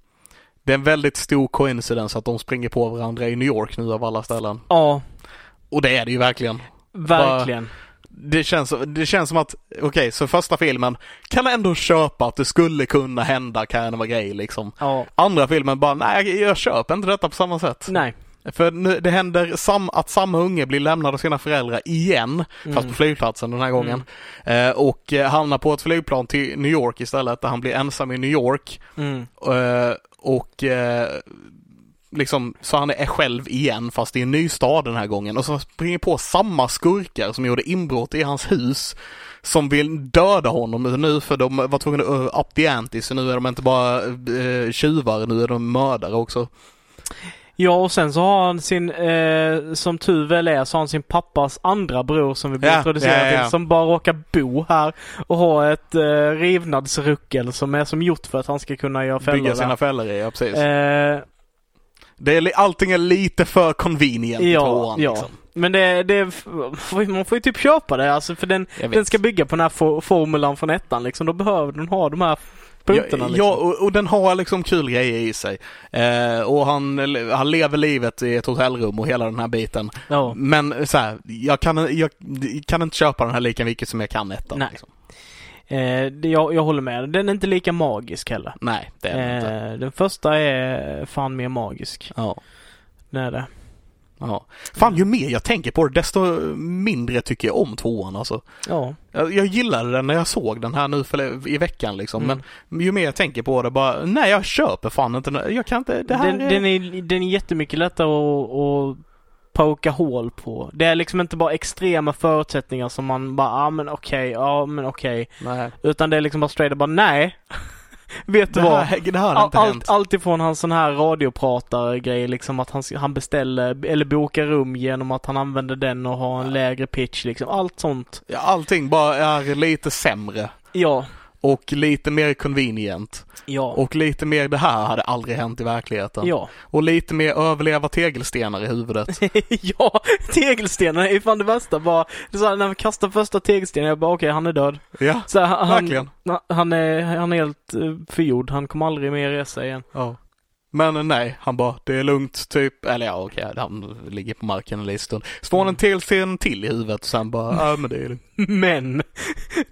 [SPEAKER 2] det är en väldigt stor coincidence att de springer på varandra i New York nu av alla ställen.
[SPEAKER 1] Ja,
[SPEAKER 2] Och det är det ju verkligen.
[SPEAKER 1] verkligen.
[SPEAKER 2] Det känns, det känns som att, okej, så första filmen kan ändå köpa att det skulle kunna hända kan vara grej liksom.
[SPEAKER 1] Ja.
[SPEAKER 2] Andra filmen bara, nej jag köper inte detta på samma sätt.
[SPEAKER 1] Nej.
[SPEAKER 2] För nu, det händer sam, att samma unge blir lämnad av sina föräldrar igen, fast
[SPEAKER 1] Mm.
[SPEAKER 2] på flygplatsen den här gången. Eh, och eh, hamnar på ett flygplan till New York istället, där han blir ensam i New York.
[SPEAKER 1] Mm.
[SPEAKER 2] Eh, och eh, liksom, så han är själv igen fast i en ny stad den här gången. Och så springer på samma skurkar som gjorde inbrott i hans hus. Som vill döda honom nu för de var tvungna att uh, up the ante, så nu är de inte bara eh, tjuvar, nu är de mördare också.
[SPEAKER 1] Ja och sen så har han sin, eh, som tur väl är, så har han sin pappas andra bror som vi blir
[SPEAKER 2] Ja,
[SPEAKER 1] introducerade
[SPEAKER 2] ja, ja, ja.
[SPEAKER 1] till som bara råkar bo här och ha ett eh, rivnadsruckel som är som gjort för att han ska kunna göra fällor
[SPEAKER 2] Bygga
[SPEAKER 1] där.
[SPEAKER 2] sina fällor i, ja precis.
[SPEAKER 1] Eh,
[SPEAKER 2] Det är, li- allting är lite för convenient i
[SPEAKER 1] Ja,
[SPEAKER 2] tvåan
[SPEAKER 1] ja.
[SPEAKER 2] liksom.
[SPEAKER 1] men det, det, man får ju typ köpa det alltså för den,
[SPEAKER 2] Jag vet.
[SPEAKER 1] den ska bygga på den här for, formulan från ettan liksom. Då behöver den ha de här punkterna
[SPEAKER 2] ja,
[SPEAKER 1] liksom.
[SPEAKER 2] ja och, och den har liksom kul grejer i sig. Eh, och han, han lever livet i ett hotellrum och hela den här biten.
[SPEAKER 1] Ja.
[SPEAKER 2] Men så här, jag kan, jag kan inte köpa den här lika mycket som jag kan ettan.
[SPEAKER 1] Nej.
[SPEAKER 2] Liksom.
[SPEAKER 1] Eh, det, jag, jag håller med. Den är inte lika magisk heller.
[SPEAKER 2] Nej, det är den inte.
[SPEAKER 1] Eh, den första är fan mer magisk.
[SPEAKER 2] Ja.
[SPEAKER 1] Det är det.
[SPEAKER 2] Ja. Fan, ju mer jag tänker på det, desto mindre tycker jag om tvåan alltså.
[SPEAKER 1] Ja.
[SPEAKER 2] Jag, jag gillade den när jag såg den här nu för, i veckan liksom,
[SPEAKER 1] Mm.
[SPEAKER 2] men ju mer jag tänker på det bara, nej jag köper fan inte den- Jag kan inte, det här
[SPEAKER 1] den,
[SPEAKER 2] är...
[SPEAKER 1] den, är, den är jättemycket lättare att, att poka hål på. Det är liksom inte bara extrema förutsättningar som man bara, ja ah, men okej, ja men okej.
[SPEAKER 2] Nej.
[SPEAKER 1] Utan det är liksom bara straight och bara, nej. Vet du
[SPEAKER 2] Det
[SPEAKER 1] vad?
[SPEAKER 2] här, det här har
[SPEAKER 1] All,
[SPEAKER 2] inte
[SPEAKER 1] allt,
[SPEAKER 2] hänt.
[SPEAKER 1] allt ifrån hans sån här radiopratare-grej liksom att han, han beställer eller bokar rum genom att han använder den och har en lägre pitch liksom. Allt sånt.
[SPEAKER 2] Ja, Allting bara är lite sämre.
[SPEAKER 1] Ja.
[SPEAKER 2] Och lite mer convenient.
[SPEAKER 1] Ja.
[SPEAKER 2] Och lite mer det här hade aldrig hänt i verkligheten.
[SPEAKER 1] ja.
[SPEAKER 2] Och lite mer överleva tegelstenar i huvudet.
[SPEAKER 1] ja, tegelstenen är ju fan det värsta bara. Det är så här, när han kastar första tegelstenen, jag bara okej, han är död.
[SPEAKER 2] Ja,
[SPEAKER 1] Så här, han,
[SPEAKER 2] verkligen.
[SPEAKER 1] Na- Han är, han är helt eh, förgjord. Han kommer aldrig mer resa igen.
[SPEAKER 2] Ja. Men nej, han bara det är lugnt typ. Eller ja okej, han ligger på marken en liten stund. Så får han en till scen till i huvudet och sen bara ja men det är lugnt.
[SPEAKER 1] Men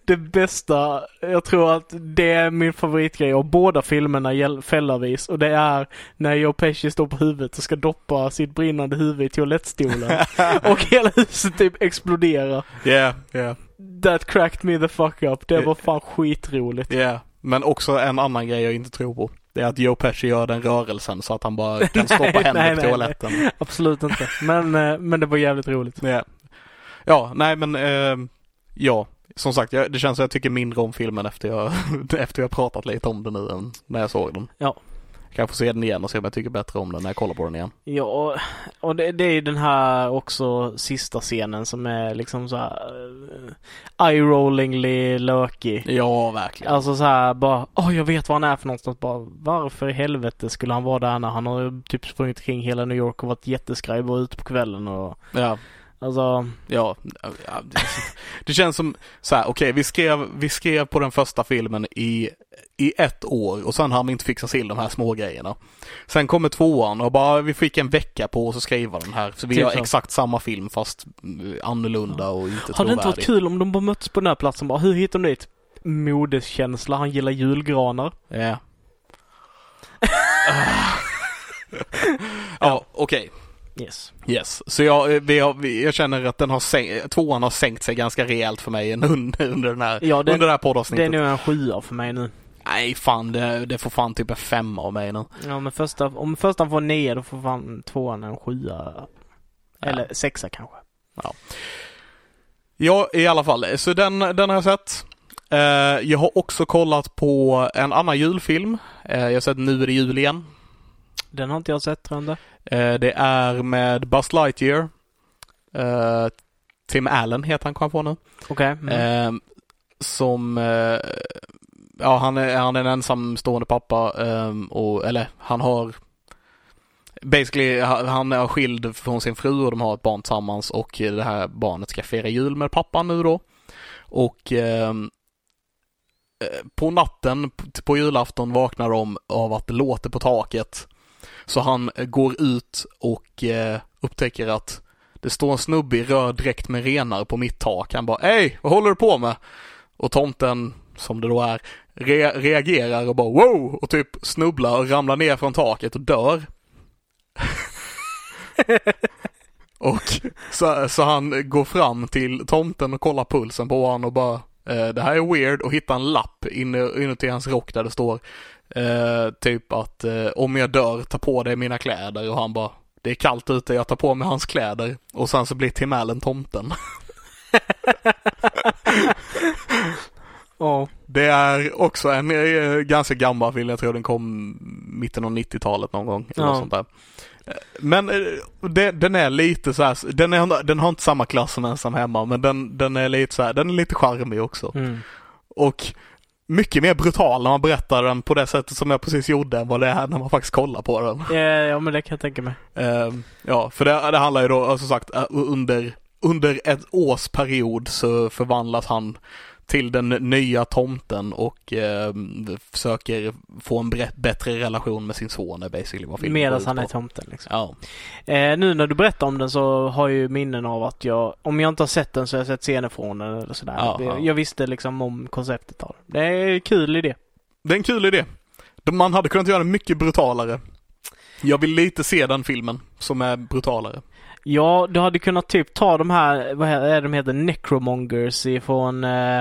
[SPEAKER 1] det bästa, jag tror att det är min favoritgrej av båda filmerna gäll- fällavis och det är när Joe Pesci står på huvudet och ska doppa sitt brinnande huvud i toalettstolen och hela huset typ exploderar.
[SPEAKER 2] Yeah, yeah,
[SPEAKER 1] That cracked me the fuck up. Det var fan skitroligt.
[SPEAKER 2] yeah. Men också en annan grej jag inte tror på. Det är att Joe Pesci gör den rörelsen så att han bara kan stoppa
[SPEAKER 1] Nej,
[SPEAKER 2] händerna
[SPEAKER 1] nej,
[SPEAKER 2] på
[SPEAKER 1] nej,
[SPEAKER 2] toaletten.
[SPEAKER 1] Absolut inte. Men, eh, men det var jävligt roligt.
[SPEAKER 2] Ja, ja nej men eh, ja, som sagt jag, det känns som jag tycker mindre om filmen efter jag, efter jag pratat lite om den nu än när jag såg den.
[SPEAKER 1] Ja.
[SPEAKER 2] Jag kanske se den igen och se om jag tycker bättre om den när jag kollar på den igen.
[SPEAKER 1] Ja, och- och det, det är ju den här också sista scenen som är liksom så här eh, eye-rollingly lökig.
[SPEAKER 2] Ja, verkligen.
[SPEAKER 1] Alltså så här bara, åh jag vet var han är för någonstans. Bara, varför i helvete skulle han vara där när han har ju typ sprungit kring hela New York och varit jätteskraj och ute på kvällen och
[SPEAKER 2] Ja,
[SPEAKER 1] alltså.
[SPEAKER 2] ja, ja det, det känns som så här, okej vi, skrev, vi skrev på den första filmen i, i ett år och sen har vi inte fixat till de här små grejerna. Sen kommer tvåan och bara vi fick en vecka på oss att skriva den här så vi
[SPEAKER 1] Typ
[SPEAKER 2] gör
[SPEAKER 1] så.
[SPEAKER 2] exakt samma film fast mm, annorlunda och inte
[SPEAKER 1] Har det inte
[SPEAKER 2] trovärdig.
[SPEAKER 1] varit kul om de bara möttes på den här platsen bara, hur hittar de dit? Modeskänsla, han gillar julgranar.
[SPEAKER 2] Ja. ja, okej.
[SPEAKER 1] Yes.
[SPEAKER 2] Yes. Så jag, eh, vi har, vi, jag känner att den har sänkt, tvåan har sänkt sig ganska rejält för mig under, under den här,
[SPEAKER 1] Ja, den-
[SPEAKER 2] under det här
[SPEAKER 1] Det är
[SPEAKER 2] poddavsnittet.
[SPEAKER 1] nog en sjua för mig nu.
[SPEAKER 2] Nej, fan det, det får fan typ en femma av mig nu.
[SPEAKER 1] Ja men första, om första får nio då får fan tvåan en sjua. Eller sexa kanske.
[SPEAKER 2] Ja, i alla fall. Så den, den har jag sett. Eh, jag har också kollat på en annan julfilm. Eh, jag har sett Nu är det jul igen.
[SPEAKER 1] Den har inte jag sett tror jag inte.
[SPEAKER 2] Eh, det är med Buzz Lightyear. Eh, Tim Allen heter han, kom jag på nu.
[SPEAKER 1] Okej. Mm.
[SPEAKER 2] Eh, som, eh, ja han är, han är en ensamstående pappa eh, och, eller han har Basically, ha- han är skild från sin fru och de har ett barn tillsammans och det här barnet ska fira jul med pappan nu då. Och ehm, eh, på natten p- på julafton vaknar de av att det låter på taket. Så han eh, går ut och eh, upptäcker att det står en snubbe i röd dräkt med renar på mitt tak. Han bara Hej, vad håller du på med? Och tomten, som det då är, re- reagerar och bara wow! Och typ snubblar och ramlar ner från taket och dör. och så, så han går fram till tomten och kollar pulsen på honom och bara eh, Det här är weird och hittar en lapp inne- inuti hans rock där det står eh, typ att eh, om jag dör, ta på dig mina kläder och han bara det är kallt ute, jag tar på mig hans kläder och sen så blir Tim Allen tomten.
[SPEAKER 1] Ja.
[SPEAKER 2] Det är också en eh, ganska gammal film, jag tror den kom mitten av 90-talet någon gång. Eller
[SPEAKER 1] Ja.
[SPEAKER 2] något sånt där. Eh, Men eh, det, den är lite så här, den, är, den har inte samma klass som Ensam Hemma men den, den är lite så här, den är lite charmig också.
[SPEAKER 1] Mm.
[SPEAKER 2] Och mycket mer brutal när man berättar den på det sättet som jag precis gjorde än vad det är när man faktiskt kollar på den.
[SPEAKER 1] Eh, Ja men det kan jag tänka mig.
[SPEAKER 2] Ehm, ja, för det, det handlar ju då eh, som sagt eh, under, under ett års period så förvandlas han till den nya tomten och ehm, försöker få en bre- bättre relation med sin son är basically vad filmen går
[SPEAKER 1] Medan
[SPEAKER 2] ut
[SPEAKER 1] han är
[SPEAKER 2] på.
[SPEAKER 1] tomten liksom.
[SPEAKER 2] Ja.
[SPEAKER 1] Eh, nu när du berättar om den så har jag ju minnen av att jag, om jag inte har sett den så har jag sett scener från den eller sådär.
[SPEAKER 2] Ja, ja.
[SPEAKER 1] jag, jag visste liksom om konceptet av den. Det är en kul idé.
[SPEAKER 2] Det är en kul idé. De- Man hade kunnat göra den mycket brutalare. Jag vill lite se den filmen som är brutalare.
[SPEAKER 1] Ja, du hade kunnat typ ta de här, vad är de heter, necromongers ifrån eh,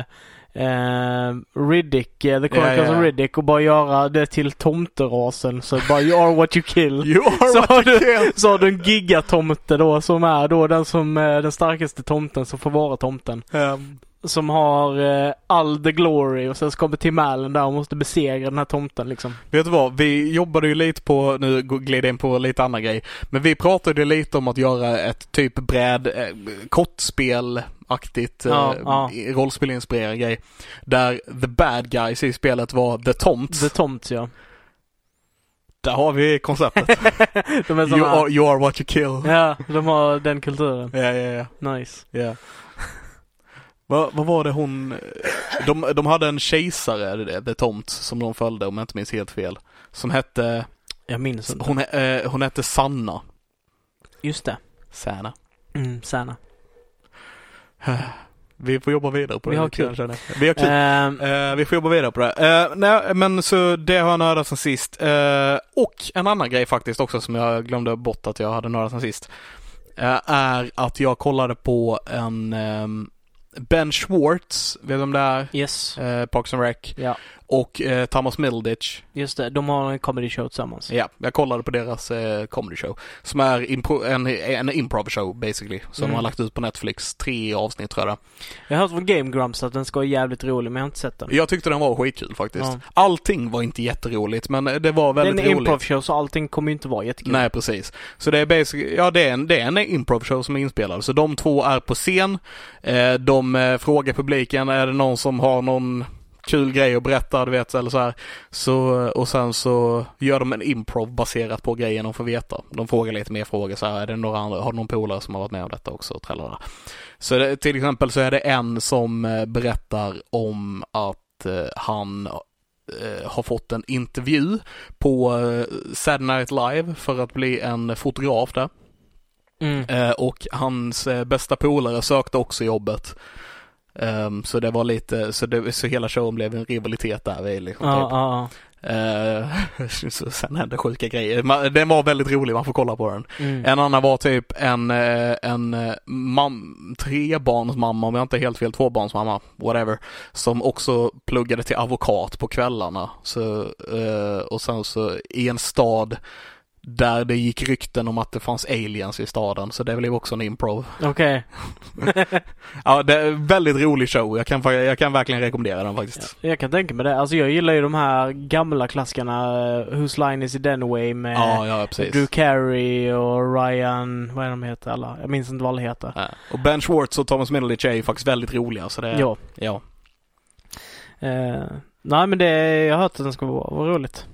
[SPEAKER 1] eh, Riddick, eh, The Chronicles
[SPEAKER 2] ja, ja.
[SPEAKER 1] of Riddick och bara göra det till tomterasen. Så bara you are what you kill.
[SPEAKER 2] You are
[SPEAKER 1] Så
[SPEAKER 2] what
[SPEAKER 1] har
[SPEAKER 2] you
[SPEAKER 1] du-
[SPEAKER 2] kill.
[SPEAKER 1] Så har du en gigatomte då som är då den som, eh, den starkaste tomten som får vara tomten.
[SPEAKER 2] Ehm,
[SPEAKER 1] Som har eh, all the glory och sen så kommer Tim Allen där och måste besegra den här tomten liksom.
[SPEAKER 2] Vet du vad, vi jobbade ju lite på, nu glider jag in på lite annan grej, men vi pratade ju lite om att göra ett typ bräd, eh, kortspelaktigt,
[SPEAKER 1] Ja,
[SPEAKER 2] eh,
[SPEAKER 1] ja.
[SPEAKER 2] rollspelinspirerad grej. Där the bad guys i spelet var the tomts.
[SPEAKER 1] The Tomt ja.
[SPEAKER 2] Där har vi konceptet.
[SPEAKER 1] De är
[SPEAKER 2] you,
[SPEAKER 1] såna,
[SPEAKER 2] are, you are what you kill.
[SPEAKER 1] Ja, de har den kulturen.
[SPEAKER 2] Ja, ja, ja.
[SPEAKER 1] Nice.
[SPEAKER 2] ja. Vad vad var det hon... eh, De, de hade en kejsare, det- The Tomt, som de följde om jag inte minns helt fel. Som hette...
[SPEAKER 1] Jag minns inte.
[SPEAKER 2] Hon, eh, hon hette Sanna.
[SPEAKER 1] Just det.
[SPEAKER 2] Sanna.
[SPEAKER 1] Mm, Sanna.
[SPEAKER 2] Vi får jobba vidare på det.
[SPEAKER 1] Vi har
[SPEAKER 2] lite grann,
[SPEAKER 1] kul.
[SPEAKER 2] känner jag. Vi har kul.
[SPEAKER 1] Ehm,
[SPEAKER 2] Eh, vi får jobba vidare på det. Eh, nej, men så det har jag nördat sen sist. Eh, och en annan grej faktiskt också som jag glömde bort att jag hade nördat sen sist. eh, är att jag kollade på en ehm, Ben Schwartz, vet du vem det är?
[SPEAKER 1] yes.
[SPEAKER 2] Eh, Parks and Rec.
[SPEAKER 1] Ja,
[SPEAKER 2] Och eh, Thomas Middleditch.
[SPEAKER 1] just det. De har en comedy show tillsammans.
[SPEAKER 2] Ja, jag kollade på deras eh, comedy show. Som är impro- en, en improv show basically. Som de
[SPEAKER 1] Mm.
[SPEAKER 2] har lagt ut på Netflix. Tre avsnitt tror jag det
[SPEAKER 1] Jag har hört från Game Grumps att den ska vara jävligt rolig, men jag har inte sett den.
[SPEAKER 2] är. Jag tyckte den var skitkul faktiskt.
[SPEAKER 1] Ja.
[SPEAKER 2] Allting var inte jätteroligt men det var väldigt
[SPEAKER 1] det är en
[SPEAKER 2] roligt.
[SPEAKER 1] improv-show så allting kommer ju inte vara jättekul.
[SPEAKER 2] Nej, precis. Så det är basically, ja det är en, det är en improv-show som är inspelad. Så de två är på scen. Eh, de eh, frågar publiken, är det någon som har någon kul grej att berätta, du vet, eller så här. Så, eh, och sen så gör de en improv baserat på grejen de får veta. De frågar lite mer frågor så här, är det några andra, har du någon polare som har varit med om detta också? Trallala. Så det, till exempel så är det en som eh, berättar om att eh, han eh, har fått en intervju på eh, Saturday Night Live för att bli en fotograf där.
[SPEAKER 1] Mm.
[SPEAKER 2] Eh, och hans eh, bästa polare sökte också jobbet. Ehm, så det var lite, så, det, så hela showen blev en rivalitet där. vi Liksom,
[SPEAKER 1] Ja,
[SPEAKER 2] typ.
[SPEAKER 1] ja,
[SPEAKER 2] Eh, så sen hände sjuka grejer. Man, den var väldigt rolig, man får kolla på den.
[SPEAKER 1] ja. Mm.
[SPEAKER 2] En annan var typ en, eh, en eh, mam, trebarnsmamma, om jag inte är helt fel, tvåbarnsmamma, whatever, som också pluggade till advokat på kvällarna. Så, eh, och sen så i en stad där det gick rykten om att det fanns aliens i staden, så det blev också en improv.
[SPEAKER 1] Okej.
[SPEAKER 2] Ja, det är en väldigt rolig show. Jag kan, fa- jag kan verkligen rekommendera den faktiskt.
[SPEAKER 1] Jag kan tänka mig det. Alltså jag gillar ju de här gamla klassikerna. eh, Whose line is it anyway med
[SPEAKER 2] Ja, ja, precis.
[SPEAKER 1] Drew Carey och Ryan, vad är de heter alla? Jag minns inte vad alla heter.
[SPEAKER 2] Ja. Och Ben Schwartz och Thomas Middleditch är ju faktiskt väldigt roliga, så det...
[SPEAKER 1] Ja.
[SPEAKER 2] ja.
[SPEAKER 1] Eh, nej men det, jag har hört att den ska vara, vara roligt.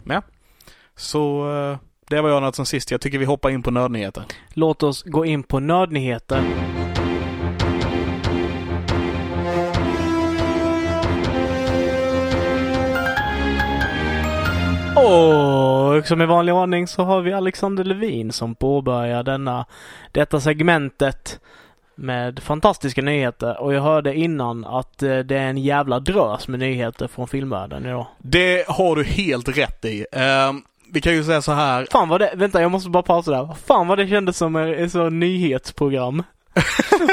[SPEAKER 2] Så eh, det var jag något sen sist. Jag tycker vi hoppar in på nördnyheter.
[SPEAKER 1] Låt oss gå in på nördnyheter. Och som i vanlig ordning så har vi Alexander Levin som påbörjar denna, detta segmentet med fantastiska nyheter. Och jag hörde innan att eh, det är en jävla drös med nyheter från filmvärlden idag.
[SPEAKER 2] Det har du helt rätt i. Ehm, vi kan ju säga så här.
[SPEAKER 1] Fan vad det, vänta jag måste bara pausa där. Fan vad det kändes som ett så nyhetsprogram.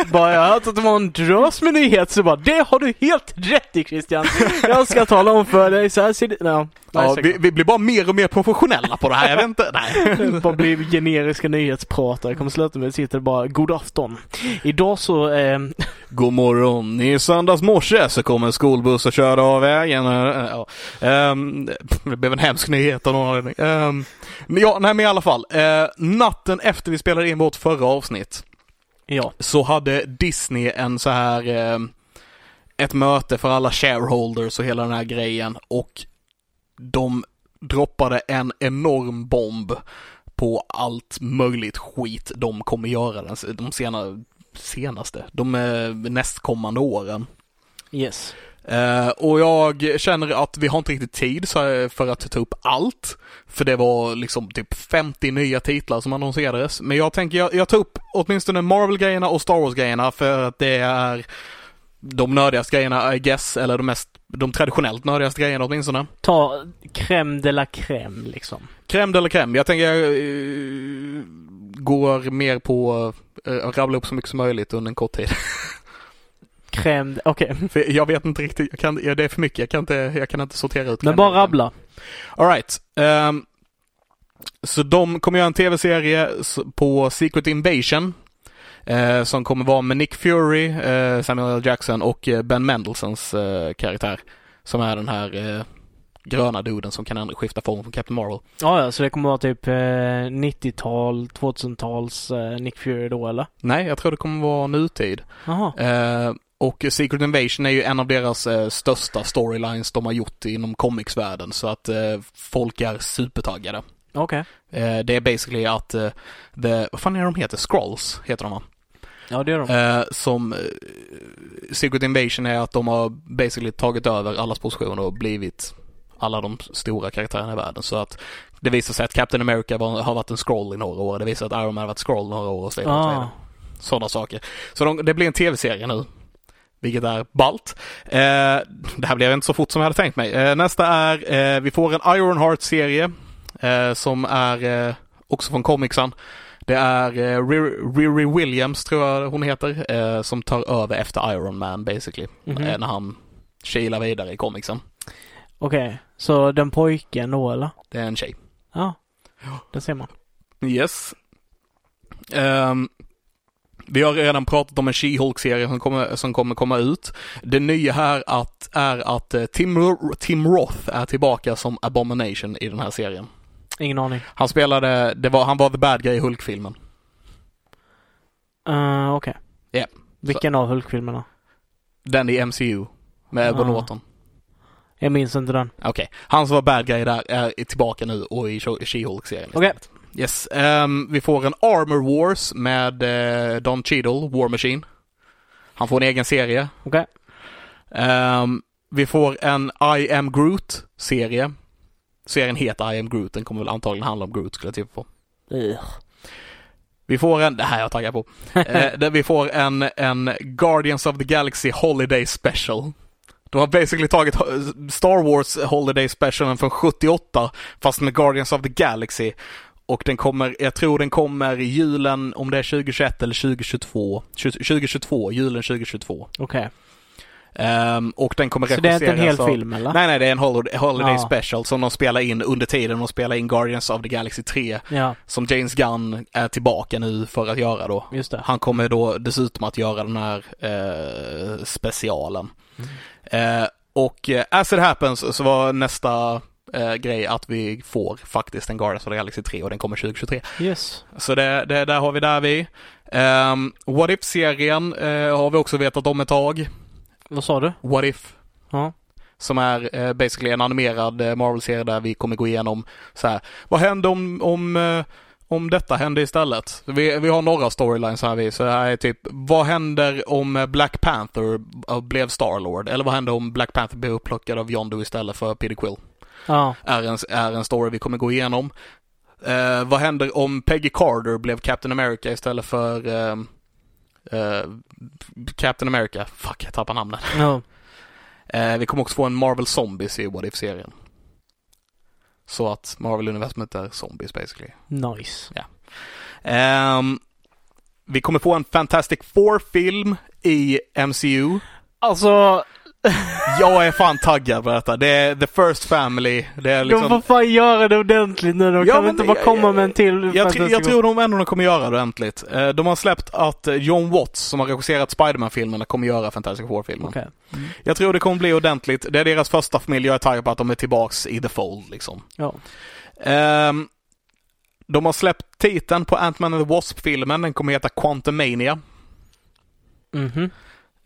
[SPEAKER 1] bara jag har hört att det var en drös med nyheter så bara det har du helt rätt i Christian. Jag ska tala om för dig så här ser det... No.
[SPEAKER 2] Ja, vi, vi blir bara mer och mer professionella på det här. Jag vet inte. Nej.
[SPEAKER 1] bara bli generiska nyhetspratare. Kommer sluta med att sitta bara god afton. Idag så, eh,
[SPEAKER 2] God morgon. I söndags morse så kom en skolbuss och körde av vägen. Eh, ja. Ehm, det blev en hemsk nyhet av någon anledning. Ehm, men ja, nej men i alla fall. Eh, natten efter vi spelade in vårt förra avsnitt
[SPEAKER 1] ja.
[SPEAKER 2] så hade Disney en så här eh, ett möte för alla shareholders och hela den här grejen och de droppade en enorm bomb på allt möjligt skit de kommer göra den- de sena, senaste, de eh, nästkommande åren.
[SPEAKER 1] Yes.
[SPEAKER 2] Eh, och jag känner att vi har inte riktigt tid så här, för att ta upp allt. För det var liksom typ 50 nya titlar som annonserades. Men jag tänker, jag, jag tar upp åtminstone Marvel-grejerna och Star Wars-grejerna för att det är de nördigaste grejerna, I guess, eller de mest, de traditionellt nördigaste grejerna åtminstone.
[SPEAKER 1] Ta crème de la crème liksom.
[SPEAKER 2] Crème eller crème. Jag tänker jag eh, går mer på eh, att rabbla upp så mycket som möjligt under en kort tid.
[SPEAKER 1] Crème, de- okej.
[SPEAKER 2] För jag vet inte riktigt, jag kan, ja, det är för mycket, jag kan inte, jag kan inte sortera ut.
[SPEAKER 1] Men
[SPEAKER 2] crème
[SPEAKER 1] bara
[SPEAKER 2] eller crème.
[SPEAKER 1] rabbla.
[SPEAKER 2] Alright. Um, så de kommer göra en tv-serie s- på Secret Invasion. eh, som kommer vara med Nick Fury, eh, Samuel L. Jackson och eh, Ben Mendelsons eh, karaktär. Som är den här eh, gröna duden som kan ändra- skifta form från Captain Marvel.
[SPEAKER 1] Ja, ja, så det kommer vara typ eh, 90-tal, 2000-tals eh, Nick Fury då eller?
[SPEAKER 2] Nej, jag tror det kommer vara nutid.
[SPEAKER 1] Jaha.
[SPEAKER 2] Eh, och Secret Invasion är ju en av deras eh, största storylines de har gjort inom comicsvärlden. Så att eh, folk är supertaggade.
[SPEAKER 1] Okej.
[SPEAKER 2] Eh, det är basically att, eh, the, vad fan är de heter? Scrolls heter de va?
[SPEAKER 1] Ja, det gör de.
[SPEAKER 2] Eh, som eh, Secret Invasion är att de har basically tagit över allas positioner och blivit alla de stora karaktärerna i världen. Så att det visar sig att Captain America var, har varit en scroll i några år. Det visar sig att Iron Man har varit scroll i några år och så vidare. och så vidare.
[SPEAKER 1] Ah.
[SPEAKER 2] Sådana saker. Så de, det blir en tv-serie nu. Vilket är ballt. Eh, det här blev inte så fort som jag hade tänkt mig. Eh, nästa är, eh, vi får en Ironheart-serie eh, som är eh, också från comicsen. Det är eh, Riri- Riri Williams, tror jag hon heter, eh, som tar över efter Iron Man basically.
[SPEAKER 1] Mhm.
[SPEAKER 2] Eh, när han kilar vidare i comicsen.
[SPEAKER 1] Okej, så den pojken då eller?
[SPEAKER 2] Det är en tjej.
[SPEAKER 1] Ja, det ser man.
[SPEAKER 2] Yes. Ehm, vi har redan pratat om en She-Hulk-serie som kommer, som kommer komma ut. Det nya här att, är att eh, Tim, Ro- Tim Roth är tillbaka som Abomination i den här serien.
[SPEAKER 1] Ingen aning.
[SPEAKER 2] Han spelade, det var, han var the bad guy i Hulk-filmen.
[SPEAKER 1] Uh, Okej.
[SPEAKER 2] Ja,
[SPEAKER 1] Vilken av Hulk-filmerna?
[SPEAKER 2] Den i MCU med Edward
[SPEAKER 1] Ah.
[SPEAKER 2] Norton.
[SPEAKER 1] Jag minns inte den.
[SPEAKER 2] Okej, han som var bad guy där är tillbaka nu och i She- She-Hulk-serien
[SPEAKER 1] Okej.
[SPEAKER 2] istället. Yes, ehm, vi får en Armor Wars med eh, Don Cheadle, War Machine. Han får en egen serie.
[SPEAKER 1] Okej.
[SPEAKER 2] Ehm, vi får en I am Groot-serie. Serien heter I am Groot, den kommer väl antagligen handla om Groot skulle jag tippa på.
[SPEAKER 1] Ugh.
[SPEAKER 2] Vi får en, det här är jag taggad på, eh, där vi får en, en Guardians of the Galaxy Holiday Special. De har basically tagit ho- Star Wars Holiday Specialen från 78 fast med Guardians of the Galaxy. Och den kommer, jag tror den kommer i julen, om det är 2021 eller 2022, 2022, julen 2022.
[SPEAKER 1] Okej.
[SPEAKER 2] Ehm, och den kommer
[SPEAKER 1] Så det är inte en hel
[SPEAKER 2] regisseras av-
[SPEAKER 1] film eller?
[SPEAKER 2] Nej, nej, det är en Holiday, holiday
[SPEAKER 1] Ja.
[SPEAKER 2] Special som de spelar in under tiden de spelar in Guardians of the Galaxy 3.
[SPEAKER 1] Ja,
[SPEAKER 2] Som James Gunn är tillbaka nu för att göra då.
[SPEAKER 1] just det.
[SPEAKER 2] Han kommer då dessutom att göra den här eh, specialen.
[SPEAKER 1] Mm.
[SPEAKER 2] Eh, och eh, as it happens så var nästa eh, grej att vi får faktiskt en Guardians of the Galaxy 3 och den kommer 2023.
[SPEAKER 1] Yes.
[SPEAKER 2] Så det, det där har vi där vi. Ehm, What If-serien eh, har vi också vetat om ett tag.
[SPEAKER 1] Vad sa du?
[SPEAKER 2] What If
[SPEAKER 1] Ja.
[SPEAKER 2] som är eh, basically en animerad eh, Marvel-serie där vi kommer gå igenom så här, vad händer om, om, eh, om detta händer istället? Vi, vi har några storylines här vi, så här är typ, vad händer om eh, Black Panther eh, blev Star-Lord? Eller vad händer om Black Panther blev upplockad av Yondu istället för Peter Quill?
[SPEAKER 1] Ja.
[SPEAKER 2] Är en, är en story vi kommer gå igenom. Eh, vad händer om Peggy Carter blev Captain America istället för ehm, eh, Captain America? Fuck, jag tappar namnet.
[SPEAKER 1] Ja.
[SPEAKER 2] Eh, vi kommer också få en Marvel Zombies i What If-serien. Så att Marvel-universumet är zombies basically.
[SPEAKER 1] Nice.
[SPEAKER 2] Ehm, vi kommer få en Fantastic Four-film i MCU.
[SPEAKER 1] Alltså,
[SPEAKER 2] Jag är fan taggad på detta. Det är The First Family. Det är
[SPEAKER 1] de
[SPEAKER 2] liksom...
[SPEAKER 1] får fan göra det ordentligt nu. De
[SPEAKER 2] Ja,
[SPEAKER 1] kan väl
[SPEAKER 2] men
[SPEAKER 1] inte bara
[SPEAKER 2] jag-
[SPEAKER 1] komma
[SPEAKER 2] jag-
[SPEAKER 1] med en till.
[SPEAKER 2] Jag, tr- jag
[SPEAKER 1] fantastisk-
[SPEAKER 2] tror de ändå de kommer göra det ordentligt. Eh, De har släppt att eh, John Watts, som har regisserat Spiderman-filmerna, kommer göra Fantastic Four-filmen.
[SPEAKER 1] Okej.
[SPEAKER 2] Jag tror det kommer bli ordentligt. Det är deras första familj. Jag är taggad på att de är tillbaks i The Fold liksom.
[SPEAKER 1] Ja.
[SPEAKER 2] Ehm, de har släppt titeln på Ant-Man and the Wasp-filmen. Den kommer heta Quantumania.
[SPEAKER 1] Mhm.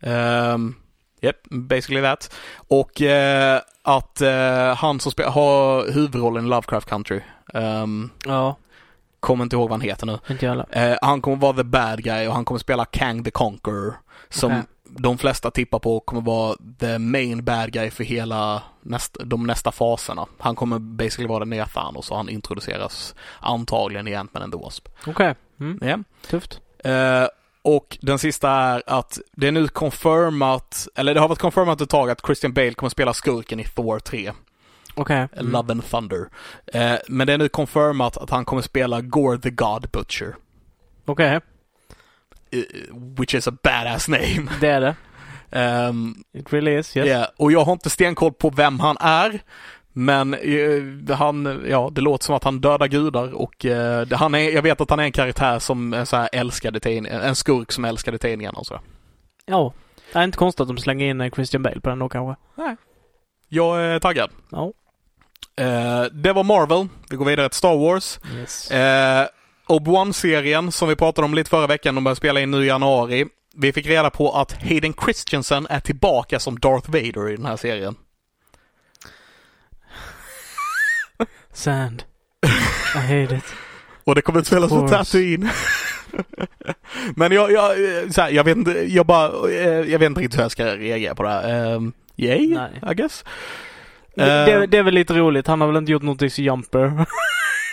[SPEAKER 2] Um, yep, basically that. Och eh, att eh, han som spe- har huvudrollen i Lovecraft Country, ehm,
[SPEAKER 1] Ja,
[SPEAKER 2] kommer inte ihåg vad han heter nu.
[SPEAKER 1] inte jag heller.
[SPEAKER 2] Eh, han kommer vara the bad guy och han kommer spela Kang the Conqueror. Som
[SPEAKER 1] Okej.
[SPEAKER 2] de flesta tippar på kommer vara the main bad guy för hela näst, de nästa faserna. Han kommer basically vara den nya Thanos och han introduceras antagligen i Ant-Man and the Wasp.
[SPEAKER 1] Okej. Mm.
[SPEAKER 2] Ja.
[SPEAKER 1] Tufft.
[SPEAKER 2] Eh, och den sista är att det är nu confirmat, eller det har varit confirmat ett tag att Christian Bale kommer spela skurken i Thor 3,
[SPEAKER 1] Okej. Mm.
[SPEAKER 2] Love and Thunder. Eh, men det är nu confirmat att han kommer spela Gore the God Butcher.
[SPEAKER 1] Okej,
[SPEAKER 2] eh, which is a badass name.
[SPEAKER 1] det är det.
[SPEAKER 2] Ehm,
[SPEAKER 1] It really is. Yes.
[SPEAKER 2] yeah. Och jag har inte stenkoll på vem han är. Men eh, han, ja, det låter som att han dödar gudar och eh, det- han är, jag vet att han är en karaktär som är så här älskade tidning, en skurk som älskade tidningarna och så.
[SPEAKER 1] Ja. Det är inte konstigt att de slänger in eh, Christian Bale på den då kanske.
[SPEAKER 2] Jag är taggad.
[SPEAKER 1] Ja.
[SPEAKER 2] Eh, det var Marvel. Vi går vidare till Star Wars.
[SPEAKER 1] Yes.
[SPEAKER 2] Eh, Obi-Wan-serien som vi pratade om lite förra veckan, de börjar spela in nu i januari. Vi fick reda på att Hayden Christensen är tillbaka som Darth Vader i den här serien.
[SPEAKER 1] Sand. I hate it.
[SPEAKER 2] Och det kommer att spelas på
[SPEAKER 1] Of course.
[SPEAKER 2] Tatooine. Men jag, jag, eh, så här, jag vet inte, jag bara, eh, jag vet inte riktigt hur jag ska reagera på det här. Um, Eh, yay,
[SPEAKER 1] Nej.
[SPEAKER 2] I guess.
[SPEAKER 1] Det, det är väl lite roligt. Han har väl inte gjort någonting så jumper.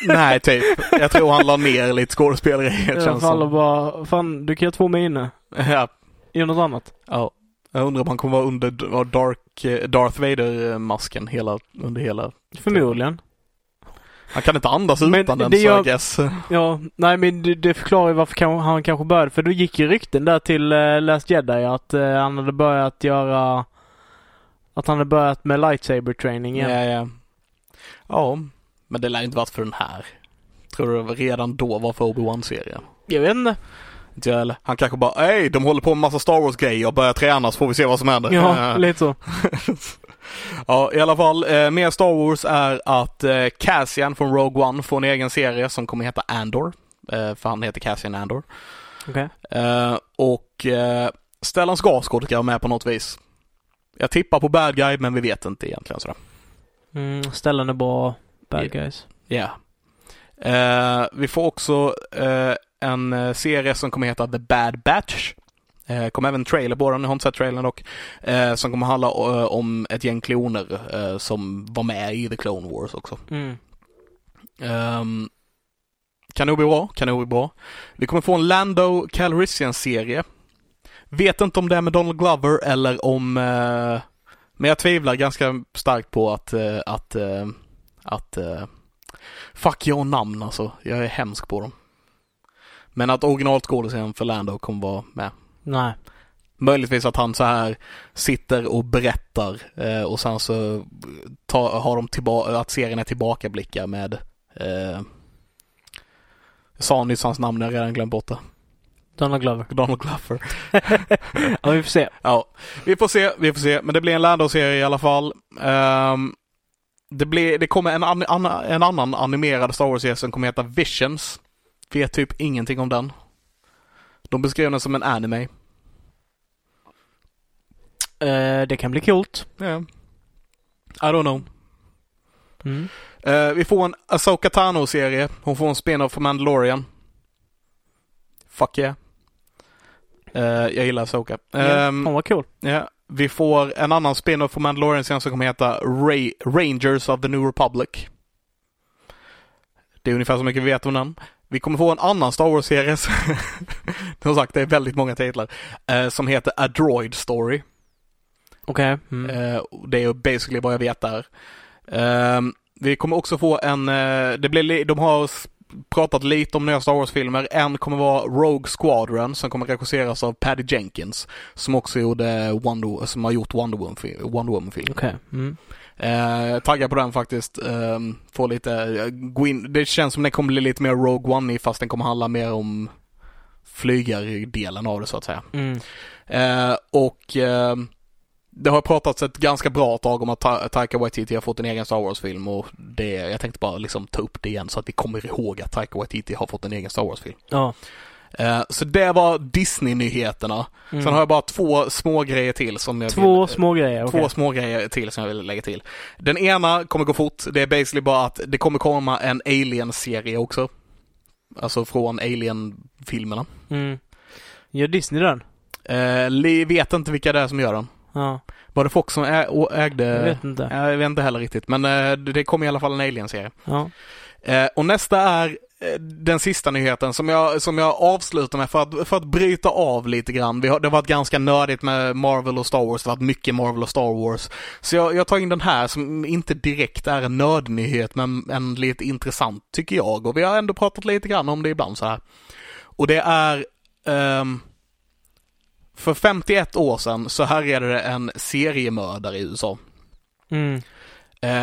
[SPEAKER 2] Nej, typ. Jag tror han la ner lite skådespeleriet
[SPEAKER 1] Känns
[SPEAKER 2] känns
[SPEAKER 1] alla
[SPEAKER 2] som.
[SPEAKER 1] bara, fan du kan göra två miner.
[SPEAKER 2] Ja.
[SPEAKER 1] Gör något annat.
[SPEAKER 2] ja. Jag undrar om han kommer vara under d- ha Dark, eh, Darth Vader-masken hela, under hela...
[SPEAKER 1] Förmodligen.
[SPEAKER 2] Han kan inte andas
[SPEAKER 1] Men
[SPEAKER 2] utan den
[SPEAKER 1] det
[SPEAKER 2] så
[SPEAKER 1] gör-
[SPEAKER 2] jag guess.
[SPEAKER 1] Ja, nej men det, det förklarar ju varför kan, han kanske började. För då gick ju rykten där till eh, Last Jedi att eh, han hade börjat göra... Att han hade börjat med lightsaber training igen.
[SPEAKER 2] Ja, ja. ja, men det lär ju inte varit för den här. Tror du det redan då var för Obi-Wan-serien?
[SPEAKER 1] Jag vet inte.
[SPEAKER 2] Inte jag heller. Han kanske bara Ey, de håller på med massa Star Wars-grejer, jag börjar träna så får vi se vad som händer.
[SPEAKER 1] Ja,
[SPEAKER 2] Eh,
[SPEAKER 1] lite så.
[SPEAKER 2] ja i alla fall. Eh, mer Star Wars är att eh, Cassian från Rogue One får en egen serie som kommer heta Andor. Eh, för han heter Cassian Andor.
[SPEAKER 1] Okej.
[SPEAKER 2] Eh, och eh, Stellan Skarsgård ska vara med på något vis. Jag tippar på Bad Guy, men vi vet inte egentligen sådär.
[SPEAKER 1] Mm, ställen är bra. Bad
[SPEAKER 2] Ja.
[SPEAKER 1] guys.
[SPEAKER 2] Ja. Eh, vi får också eh, en eh, serie som kommer heta The Bad Batch. Eh, kom även en trailer på den, jag har inte sett trailern dock. Eh, som kommer handla eh, om ett gäng kloner eh, som var med i The Clone Wars också.
[SPEAKER 1] Mm.
[SPEAKER 2] Ehm, kan nog bli bra, kan nog bli bra. Vi kommer få en Lando Calrissian-serie. Vet inte om det är med Donald Glover eller om... eh, men jag tvivlar ganska starkt på att... eh, att, eh, att eh, fuck, jag har namn alltså. Jag är hemsk på dem. Men att originalskådisen för Lando kommer vara med.
[SPEAKER 1] Nej.
[SPEAKER 2] Möjligtvis att han så här sitter och berättar eh, och sen så tar, har de tillbaka, att serien är tillbakablickar med eh, jag sa nyss hans namn, jag har redan glömt bort det.
[SPEAKER 1] Donald Glover.
[SPEAKER 2] Donald Glover.
[SPEAKER 1] Ja, vi får se.
[SPEAKER 2] Ja, vi får se, vi får se. Men det blir en Lando-serie i alla fall. Ehm, det, blir, det kommer en, an, an, en annan animerad Star Wars-serie som kommer heta Visions. Vet typ ingenting om den. De beskrev den som en anime.
[SPEAKER 1] Eh, det kan bli coolt.
[SPEAKER 2] Yeah. I don't know.
[SPEAKER 1] Mm.
[SPEAKER 2] Eh, vi får en Asoka Tano-serie. Hon får en spin-off från Mandalorian. Fuck yeah. Eh, jag gillar Asoka. Ehm,
[SPEAKER 1] Fan vad kul.
[SPEAKER 2] ja. Vi får en annan spin-off från Mandalorian sen som kommer heta Ray- Rangers of the New Republic. Det är ungefär så mycket vi vet om den. Vi kommer få en annan Star Wars-serie. som sagt, det är väldigt många titlar. eh, som heter A Droid Story.
[SPEAKER 1] Okej. Mm.
[SPEAKER 2] Eh, och det är basically vad jag vet där. Ehm, vi kommer också få en, eh, det blir, li- de har s- pratat lite om nya Star Wars-filmer. En kommer vara Rogue Squadron som kommer regisseras av Patty Jenkins som också gjorde Wonder, som har gjort Wonder Woman-filmen. Wonder Woman
[SPEAKER 1] Okej. Mm.
[SPEAKER 2] Eh, taggad på den faktiskt. Ehm, få lite, eh, gå in, det känns som den kommer bli lite mer Rogue One fast den kommer handla mer om flygardelen av det så att säga.
[SPEAKER 1] Mm.
[SPEAKER 2] Eh, och eh, det har pratats ett ganska bra tag om att Ta- Taika Waititi har fått en egen Star Wars-film och det, jag tänkte bara liksom ta upp det igen så att vi kommer ihåg att Taika Waititi har fått en egen Star Wars-film.
[SPEAKER 1] Ja.
[SPEAKER 2] Eh, så det var Disney-nyheterna.
[SPEAKER 1] Mm.
[SPEAKER 2] Sen har jag bara två små grejer till som jag
[SPEAKER 1] Två
[SPEAKER 2] vill,
[SPEAKER 1] små grejer.
[SPEAKER 2] Två
[SPEAKER 1] okej.
[SPEAKER 2] små grejer till som jag vill lägga till. Den ena kommer gå fort. Det är basically bara att det kommer komma en Alien-serie också. Alltså från Alien-filmerna.
[SPEAKER 1] Mm. Gör Disney den?
[SPEAKER 2] Eh, li- vet inte vilka det är som gör den.
[SPEAKER 1] Ja.
[SPEAKER 2] Var det Fox som ä- och ägde?
[SPEAKER 1] Jag vet inte.
[SPEAKER 2] Eh, Ja, jag vet inte heller riktigt, men eh, det det kommer i alla fall en Alien-serie.
[SPEAKER 1] Ja.
[SPEAKER 2] Eh, och nästa är eh, den sista nyheten som jag, som jag avslutar med för att, för att bryta av lite grann. Vi har, det har varit ganska nördigt med Marvel och Star Wars, det har varit mycket Marvel och Star Wars. Så jag, jag tar in den här som inte direkt är en nördnyhet men en lite intressant tycker jag. Och vi har ändå pratat lite grann om det ibland så här. Och det är ehm, för 51 år sedan så härjade det en seriemördare i USA.
[SPEAKER 1] Mm.
[SPEAKER 2] Eh,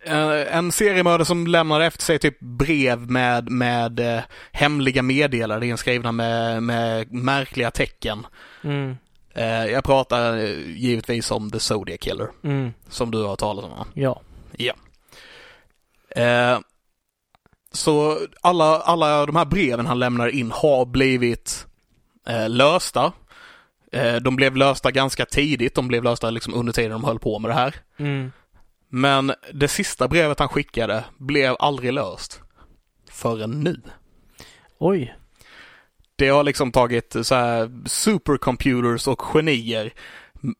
[SPEAKER 2] eh, en seriemördare som lämnade efter sig typ brev med, med eh, hemliga meddelanden inskrivna med, med märkliga tecken.
[SPEAKER 1] Mm.
[SPEAKER 2] Eh, jag pratar eh, givetvis om The Zodiac Killer,
[SPEAKER 1] Mm.
[SPEAKER 2] som du har talat om. va?
[SPEAKER 1] Ja.
[SPEAKER 2] Eh, så alla, alla de här breven han lämnar in har blivit eh, lösta. Eh, de blev lösta ganska tidigt, de blev lösta liksom under tiden de höll på med det här.
[SPEAKER 1] Mm.
[SPEAKER 2] Men det sista brevet han skickade blev aldrig löst. Förrän nu.
[SPEAKER 1] Oj.
[SPEAKER 2] Det har liksom tagit så här supercomputers och genier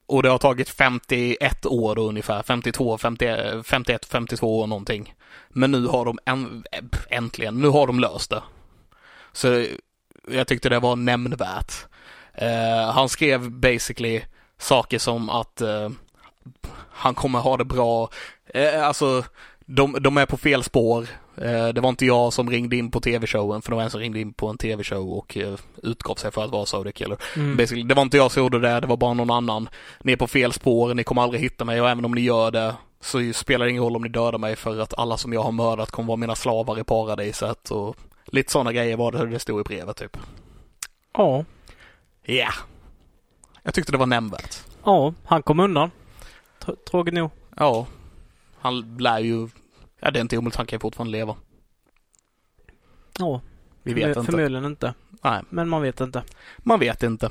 [SPEAKER 2] Och det har tagit 51 år då ungefär, 52, 50, 51, 52 år någonting. Men nu har de äm- äntligen, nu har de löst det. Så jag tyckte det var nämnvärt. Eh, han skrev basically saker som att eh, han kommer ha det bra, eh, alltså de, de är på fel spår. Eh, det var inte jag som ringde in på tv-showen, för det var en som ringde in på en tv-show och eh, utgav sig för att vara Zodiac Killer.
[SPEAKER 1] Mm.
[SPEAKER 2] Basically, det var inte jag som gjorde det, det var bara någon annan. Ni är på fel spår, ni kommer aldrig hitta mig och även om ni gör det så spelar det ingen roll om ni dödar mig för att alla som jag har mördat kommer vara mina slavar i paradiset och lite sådana grejer var det det stod i brevet typ.
[SPEAKER 1] Ja.
[SPEAKER 2] Ja. Jag tyckte det var nämnvärt.
[SPEAKER 1] ja, han kom undan. Tr- Tråkigt nog.
[SPEAKER 2] Ja. Han lär ju... Ja, det är inte omöjligt, han kan ju fortfarande leva.
[SPEAKER 1] Ja,
[SPEAKER 2] Vi vet
[SPEAKER 1] förmo-
[SPEAKER 2] inte.
[SPEAKER 1] förmodligen inte.
[SPEAKER 2] Nej,
[SPEAKER 1] Men man vet inte.
[SPEAKER 2] man vet inte.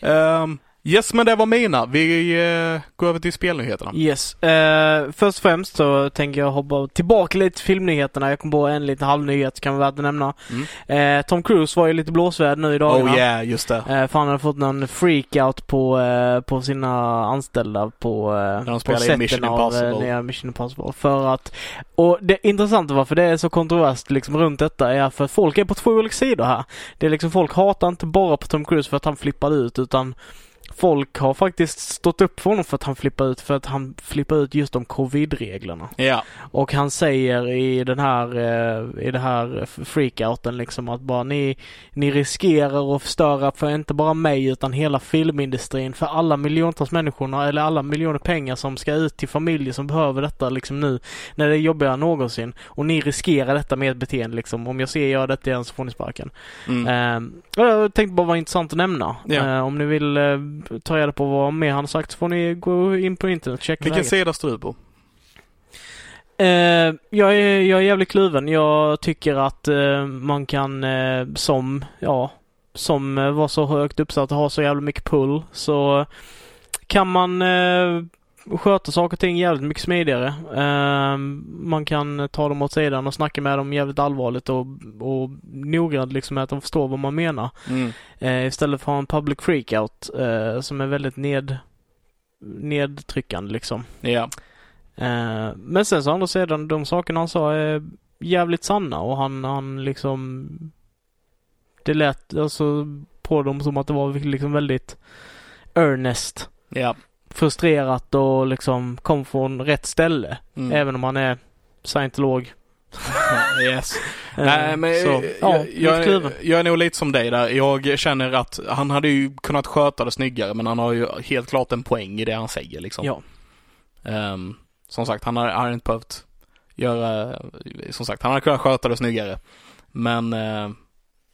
[SPEAKER 2] Ehm, yes, men det var mina. Vi eh, går över till spelnyheterna.
[SPEAKER 1] Yes. Eh, först och främst så tänker jag hoppa tillbaka lite till filmnyheterna. Jag kom på en liten halvnyhet kan vara värt att nämna. Eh, Tom Cruise var ju lite blåsvärd nu i dagarna.
[SPEAKER 2] Oh yeah, just det.
[SPEAKER 1] Eh, för han hade fått någon freakout på, eh, på sina anställda på, eh,
[SPEAKER 2] de
[SPEAKER 1] på
[SPEAKER 2] spelade in
[SPEAKER 1] setten
[SPEAKER 2] Mission
[SPEAKER 1] av, eh,
[SPEAKER 2] Impossible.
[SPEAKER 1] nya Mission Impossible. För att, och det intressanta varför det är så kontroversiellt liksom runt detta är för att folk är på två olika sidor här. Det är liksom folk hatar inte bara på Tom Cruise för att han flippade ut utan folk har faktiskt stått upp för honom för att han flippade ut för att han flippade ut just de covid-reglerna.
[SPEAKER 2] Ja,
[SPEAKER 1] Och han säger i den här, eh, i den här freakouten liksom att bara ni, ni riskerar att förstöra för inte bara mig utan hela filmindustrin för alla miljontals människorna eller alla miljoner pengar som ska ut till familjer som behöver detta liksom nu när det är jobbigare än någonsin. Och ni riskerar detta med ert beteende liksom. Om jag ser jag detta igen så får ni sparken.
[SPEAKER 2] mm.
[SPEAKER 1] Mm. jag tänkte bara vara intressant att nämna.
[SPEAKER 2] Ja.
[SPEAKER 1] Eh, om ni vill eh, ta reda på vad mer han har sagt så får ni gå in på internet och checka
[SPEAKER 2] Vilken
[SPEAKER 1] läget.
[SPEAKER 2] sida står du på?
[SPEAKER 1] Eh, jag, är, jag är jävligt kluven. Jag tycker att eh, man kan eh, som, ja, som eh, var så högt uppsatt och ha så jävla mycket pull så kan man eh, sköta saker och ting jävligt mycket smidigare. Eh, man kan ta dem åt sidan och snacka med dem jävligt allvarligt och, och noggrant liksom med att de förstår vad man menar.
[SPEAKER 2] Mm.
[SPEAKER 1] Eh, istället för att ha en public freakout eh, som är väldigt ned, nedtryckande liksom.
[SPEAKER 2] Ja.
[SPEAKER 1] Eh, men sen så å andra sidan, de sakerna han sa är jävligt sanna och han, han liksom... Det lät alltså på dem som att det var liksom väldigt earnest.
[SPEAKER 2] Ja.
[SPEAKER 1] Frustrerat och liksom kom från rätt ställe.
[SPEAKER 2] Mm.
[SPEAKER 1] Även om han är scientolog.
[SPEAKER 2] yes.
[SPEAKER 1] Eh,
[SPEAKER 2] Nej, men
[SPEAKER 1] så, ja,
[SPEAKER 2] jag, jag,
[SPEAKER 1] lite kluven.
[SPEAKER 2] är- jag är nog lite som dig där. Jag känner att han hade ju kunnat sköta det snyggare, men han har ju helt klart en poäng i det han säger liksom.
[SPEAKER 1] Ja.
[SPEAKER 2] Ehm, som sagt, han har, han har inte behövt göra, som sagt, han har kunnat sköta det snyggare. Men eh,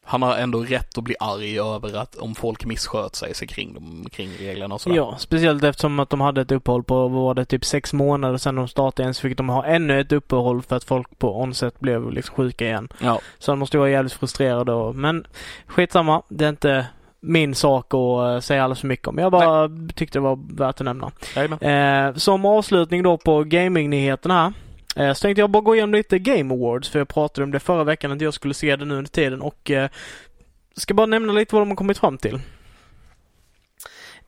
[SPEAKER 2] han har ändå rätt att bli arg över att om folk missköt sig, sig kring, de, kring reglerna och sådär.
[SPEAKER 1] Ja, speciellt eftersom att de hade ett uppehåll på, vad var det, typ sex månader sedan de startade igen så fick de ha ännu ett uppehåll för att folk på onset blev liksom sjuka igen.
[SPEAKER 2] Ja.
[SPEAKER 1] Så de måste ju vara jävligt frustrerade och, men skitsamma. Det är inte min sak att eh, säga alldeles för mycket om. Jag bara tyckte det var värt att nämna.
[SPEAKER 2] Jajamän.
[SPEAKER 1] Eh, som avslutning då på gaming-nyheterna här. Eh, så tänkte jag bara gå igenom lite Game Awards för jag pratade om det förra veckan att jag skulle se det nu under tiden och eh, ska bara nämna lite vad de har kommit fram till.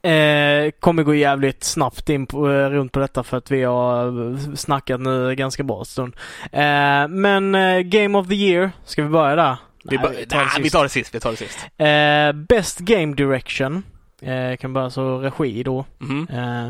[SPEAKER 1] Eh, kommer gå jävligt snabbt in på, eh, runt på detta för att vi har eh, snackat nu ganska bra en stund. Eh, men eh, Game of the Year, ska vi börja där?
[SPEAKER 2] Vi,
[SPEAKER 1] Nej,
[SPEAKER 2] bara-
[SPEAKER 1] tar det
[SPEAKER 2] nej, vi
[SPEAKER 1] sist.
[SPEAKER 2] tar det sist, vi tar det sist.
[SPEAKER 1] Eh, Best Game Direction. Eh, kan börja så regi då.
[SPEAKER 2] Mhm.
[SPEAKER 1] Eh,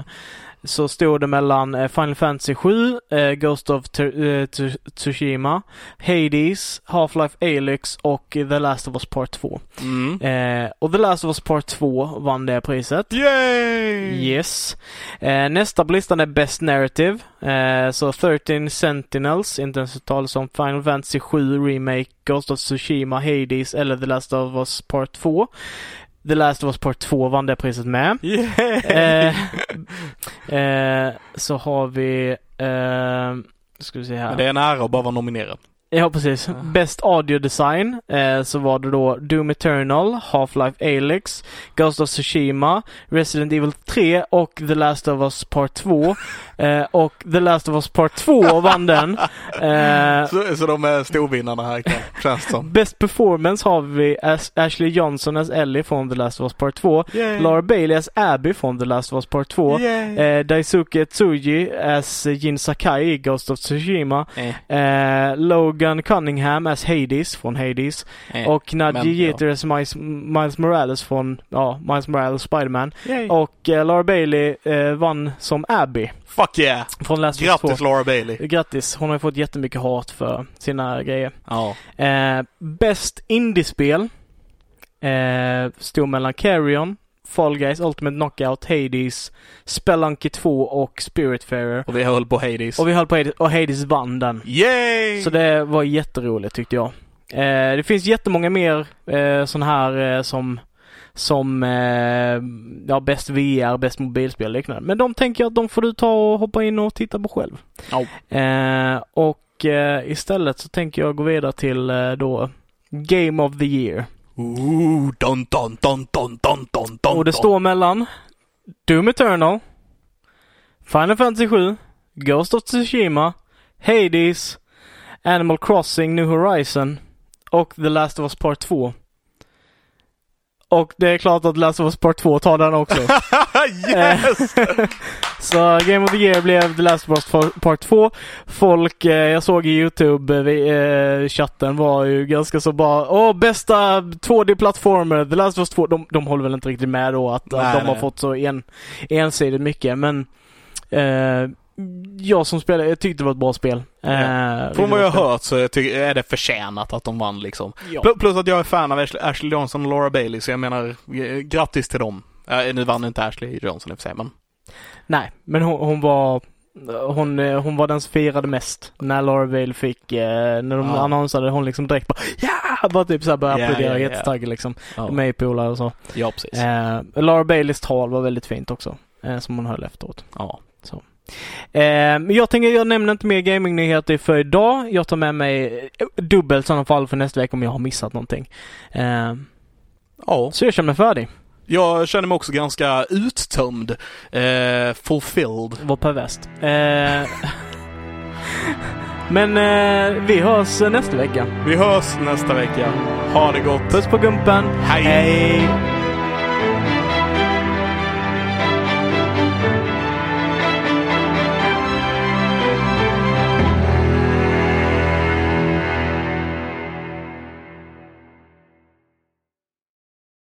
[SPEAKER 1] Så stod det mellan eh, Final Fantasy 7, eh, Ghost of T- eh, T- Tsushima, Hades, Half-Life Alyx och The Last of Us Part 2.
[SPEAKER 2] Mm.
[SPEAKER 1] Eh, Och The Last of Us Part 2 vann det priset.
[SPEAKER 2] Yay!
[SPEAKER 1] Yes. Eh, nästa på listan är Best Narrative. Eh, så 13 Sentinels, inte ens tal som Final Fantasy 7 Remake, Ghost of Tsushima, Hades eller The Last of Us Part 2. The Last of Us Part 2 vann det priset med.
[SPEAKER 2] Yay!
[SPEAKER 1] Eh, eh, så har vi... Eh, ska vi se här.
[SPEAKER 2] Men det är en ära att bara vara nominerad.
[SPEAKER 1] Ja, precis. Best Audio Design eh, så var det då Doom Eternal, Half-Life Alyx, Ghost of Tsushima, Resident Evil 3 och The Last of Us Part 2. Eh, och The Last of Us Part 2 vann den. Eh,
[SPEAKER 2] Så, så de är storvinnarna här ikväll, känns det som.
[SPEAKER 1] Best Performance har vi As- Ashley Johnson as Ellie från The Last of Us Part 2,
[SPEAKER 2] Yay.
[SPEAKER 1] Laura Bailey as Abby från The Last of Us Part 2,
[SPEAKER 2] Yay.
[SPEAKER 1] eh, Daisuke Tsuji as Jin Sakai i Ghost of Tsushima,
[SPEAKER 2] Eh,
[SPEAKER 1] Eh, Logan Cunningham as Hades från Hades.
[SPEAKER 2] eh.
[SPEAKER 1] och Nadji
[SPEAKER 2] men, ja.
[SPEAKER 1] Jeter as Miles, Miles Morales från, ja, Miles Morales Spiderman.
[SPEAKER 2] Yay.
[SPEAKER 1] Och eh, Laura Bailey eh, vann som Abby
[SPEAKER 2] Fuck yeah!
[SPEAKER 1] från Last of Us 2.
[SPEAKER 2] Grattis Laura Bailey!
[SPEAKER 1] Grattis! Hon har ju fått jättemycket hat för sina grejer.
[SPEAKER 2] Ja.
[SPEAKER 1] Eh, bäst indiespel eh, stod mellan Carrion, Fall Guys, Ultimate Knockout, Hades, Spelunky 2 och Spiritfarer.
[SPEAKER 2] Och vi höll på Hades.
[SPEAKER 1] Och vi höll på Hades, och Hades vann den.
[SPEAKER 2] Yay!
[SPEAKER 1] Så det var jätteroligt tyckte jag. Eh, det finns jättemånga mer eh, sådana här eh, som som eh, ja, bäst VR, bäst mobilspel och liknande. Men de tänker jag att de får du ta och hoppa in och titta på själv.
[SPEAKER 2] Ja.
[SPEAKER 1] Eh, och eh, istället så tänker jag gå vidare till eh, då Game of the Year.
[SPEAKER 2] Ooh, don, don, don, don, don, don, don,
[SPEAKER 1] och det
[SPEAKER 2] don.
[SPEAKER 1] står mellan Doom Eternal, Final Fantasy 7, Ghost of Tsushima, Hades, Animal Crossing New Horizon och The Last of Us Part 2. Och det är klart att The Last of Us Part 2 tar den också. Eh,
[SPEAKER 2] yes!
[SPEAKER 1] Så Game of the Year blev The Last of Us Par- Part 2. Folk eh, jag såg i eh, Youtube-chatten var ju ganska så bara Åh, bästa 2D-plattformer, The Last of Us 2. De, de håller väl inte riktigt med då att,
[SPEAKER 2] Nej,
[SPEAKER 1] att de har
[SPEAKER 2] nej.
[SPEAKER 1] fått så en, ensidigt mycket men eh, jag som spelare, jag tyckte det var ett bra spel. Eh,
[SPEAKER 2] Från vad jag har hört så ty- är det förtjänat att de vann liksom.
[SPEAKER 1] Ja.
[SPEAKER 2] Pl- Plus att jag är fan av Ashley, Ashley Johnson och Laura Bailey, så jag menar, eh, grattis till dem. Eh, nu vann inte Ashley Johnson i och för sig, men
[SPEAKER 1] Nej, men hon, hon var hon, eh, hon var den som firade mest när Laura Vail fick, eh, när de
[SPEAKER 2] Ja.
[SPEAKER 1] annonserade, hon liksom direkt bara ja! Bara typ såhär började
[SPEAKER 2] Ja,
[SPEAKER 1] applådera,
[SPEAKER 2] ja, ja.
[SPEAKER 1] jättetaggig liksom.
[SPEAKER 2] ja,
[SPEAKER 1] Med i polare och så.
[SPEAKER 2] ja precis.
[SPEAKER 1] Eh, Laura Baileys tal var väldigt fint också. Eh, som hon höll efteråt.
[SPEAKER 2] Ja.
[SPEAKER 1] Eh, men jag tänker, jag nämner inte mer gamingnyheter för idag. Jag tar med mig eh, dubbelt i sådana fall för nästa vecka om jag har missat någonting. Eh,
[SPEAKER 2] ja,
[SPEAKER 1] så jag känner mig färdig.
[SPEAKER 2] jag känner mig också ganska uttömd. Eh, fulfilled.
[SPEAKER 1] Var perverst. Eh, men eh, vi hörs nästa vecka.
[SPEAKER 2] Vi hörs nästa vecka. Ha det gott.
[SPEAKER 1] Puss på gumpen.
[SPEAKER 2] Hej.
[SPEAKER 1] Hej.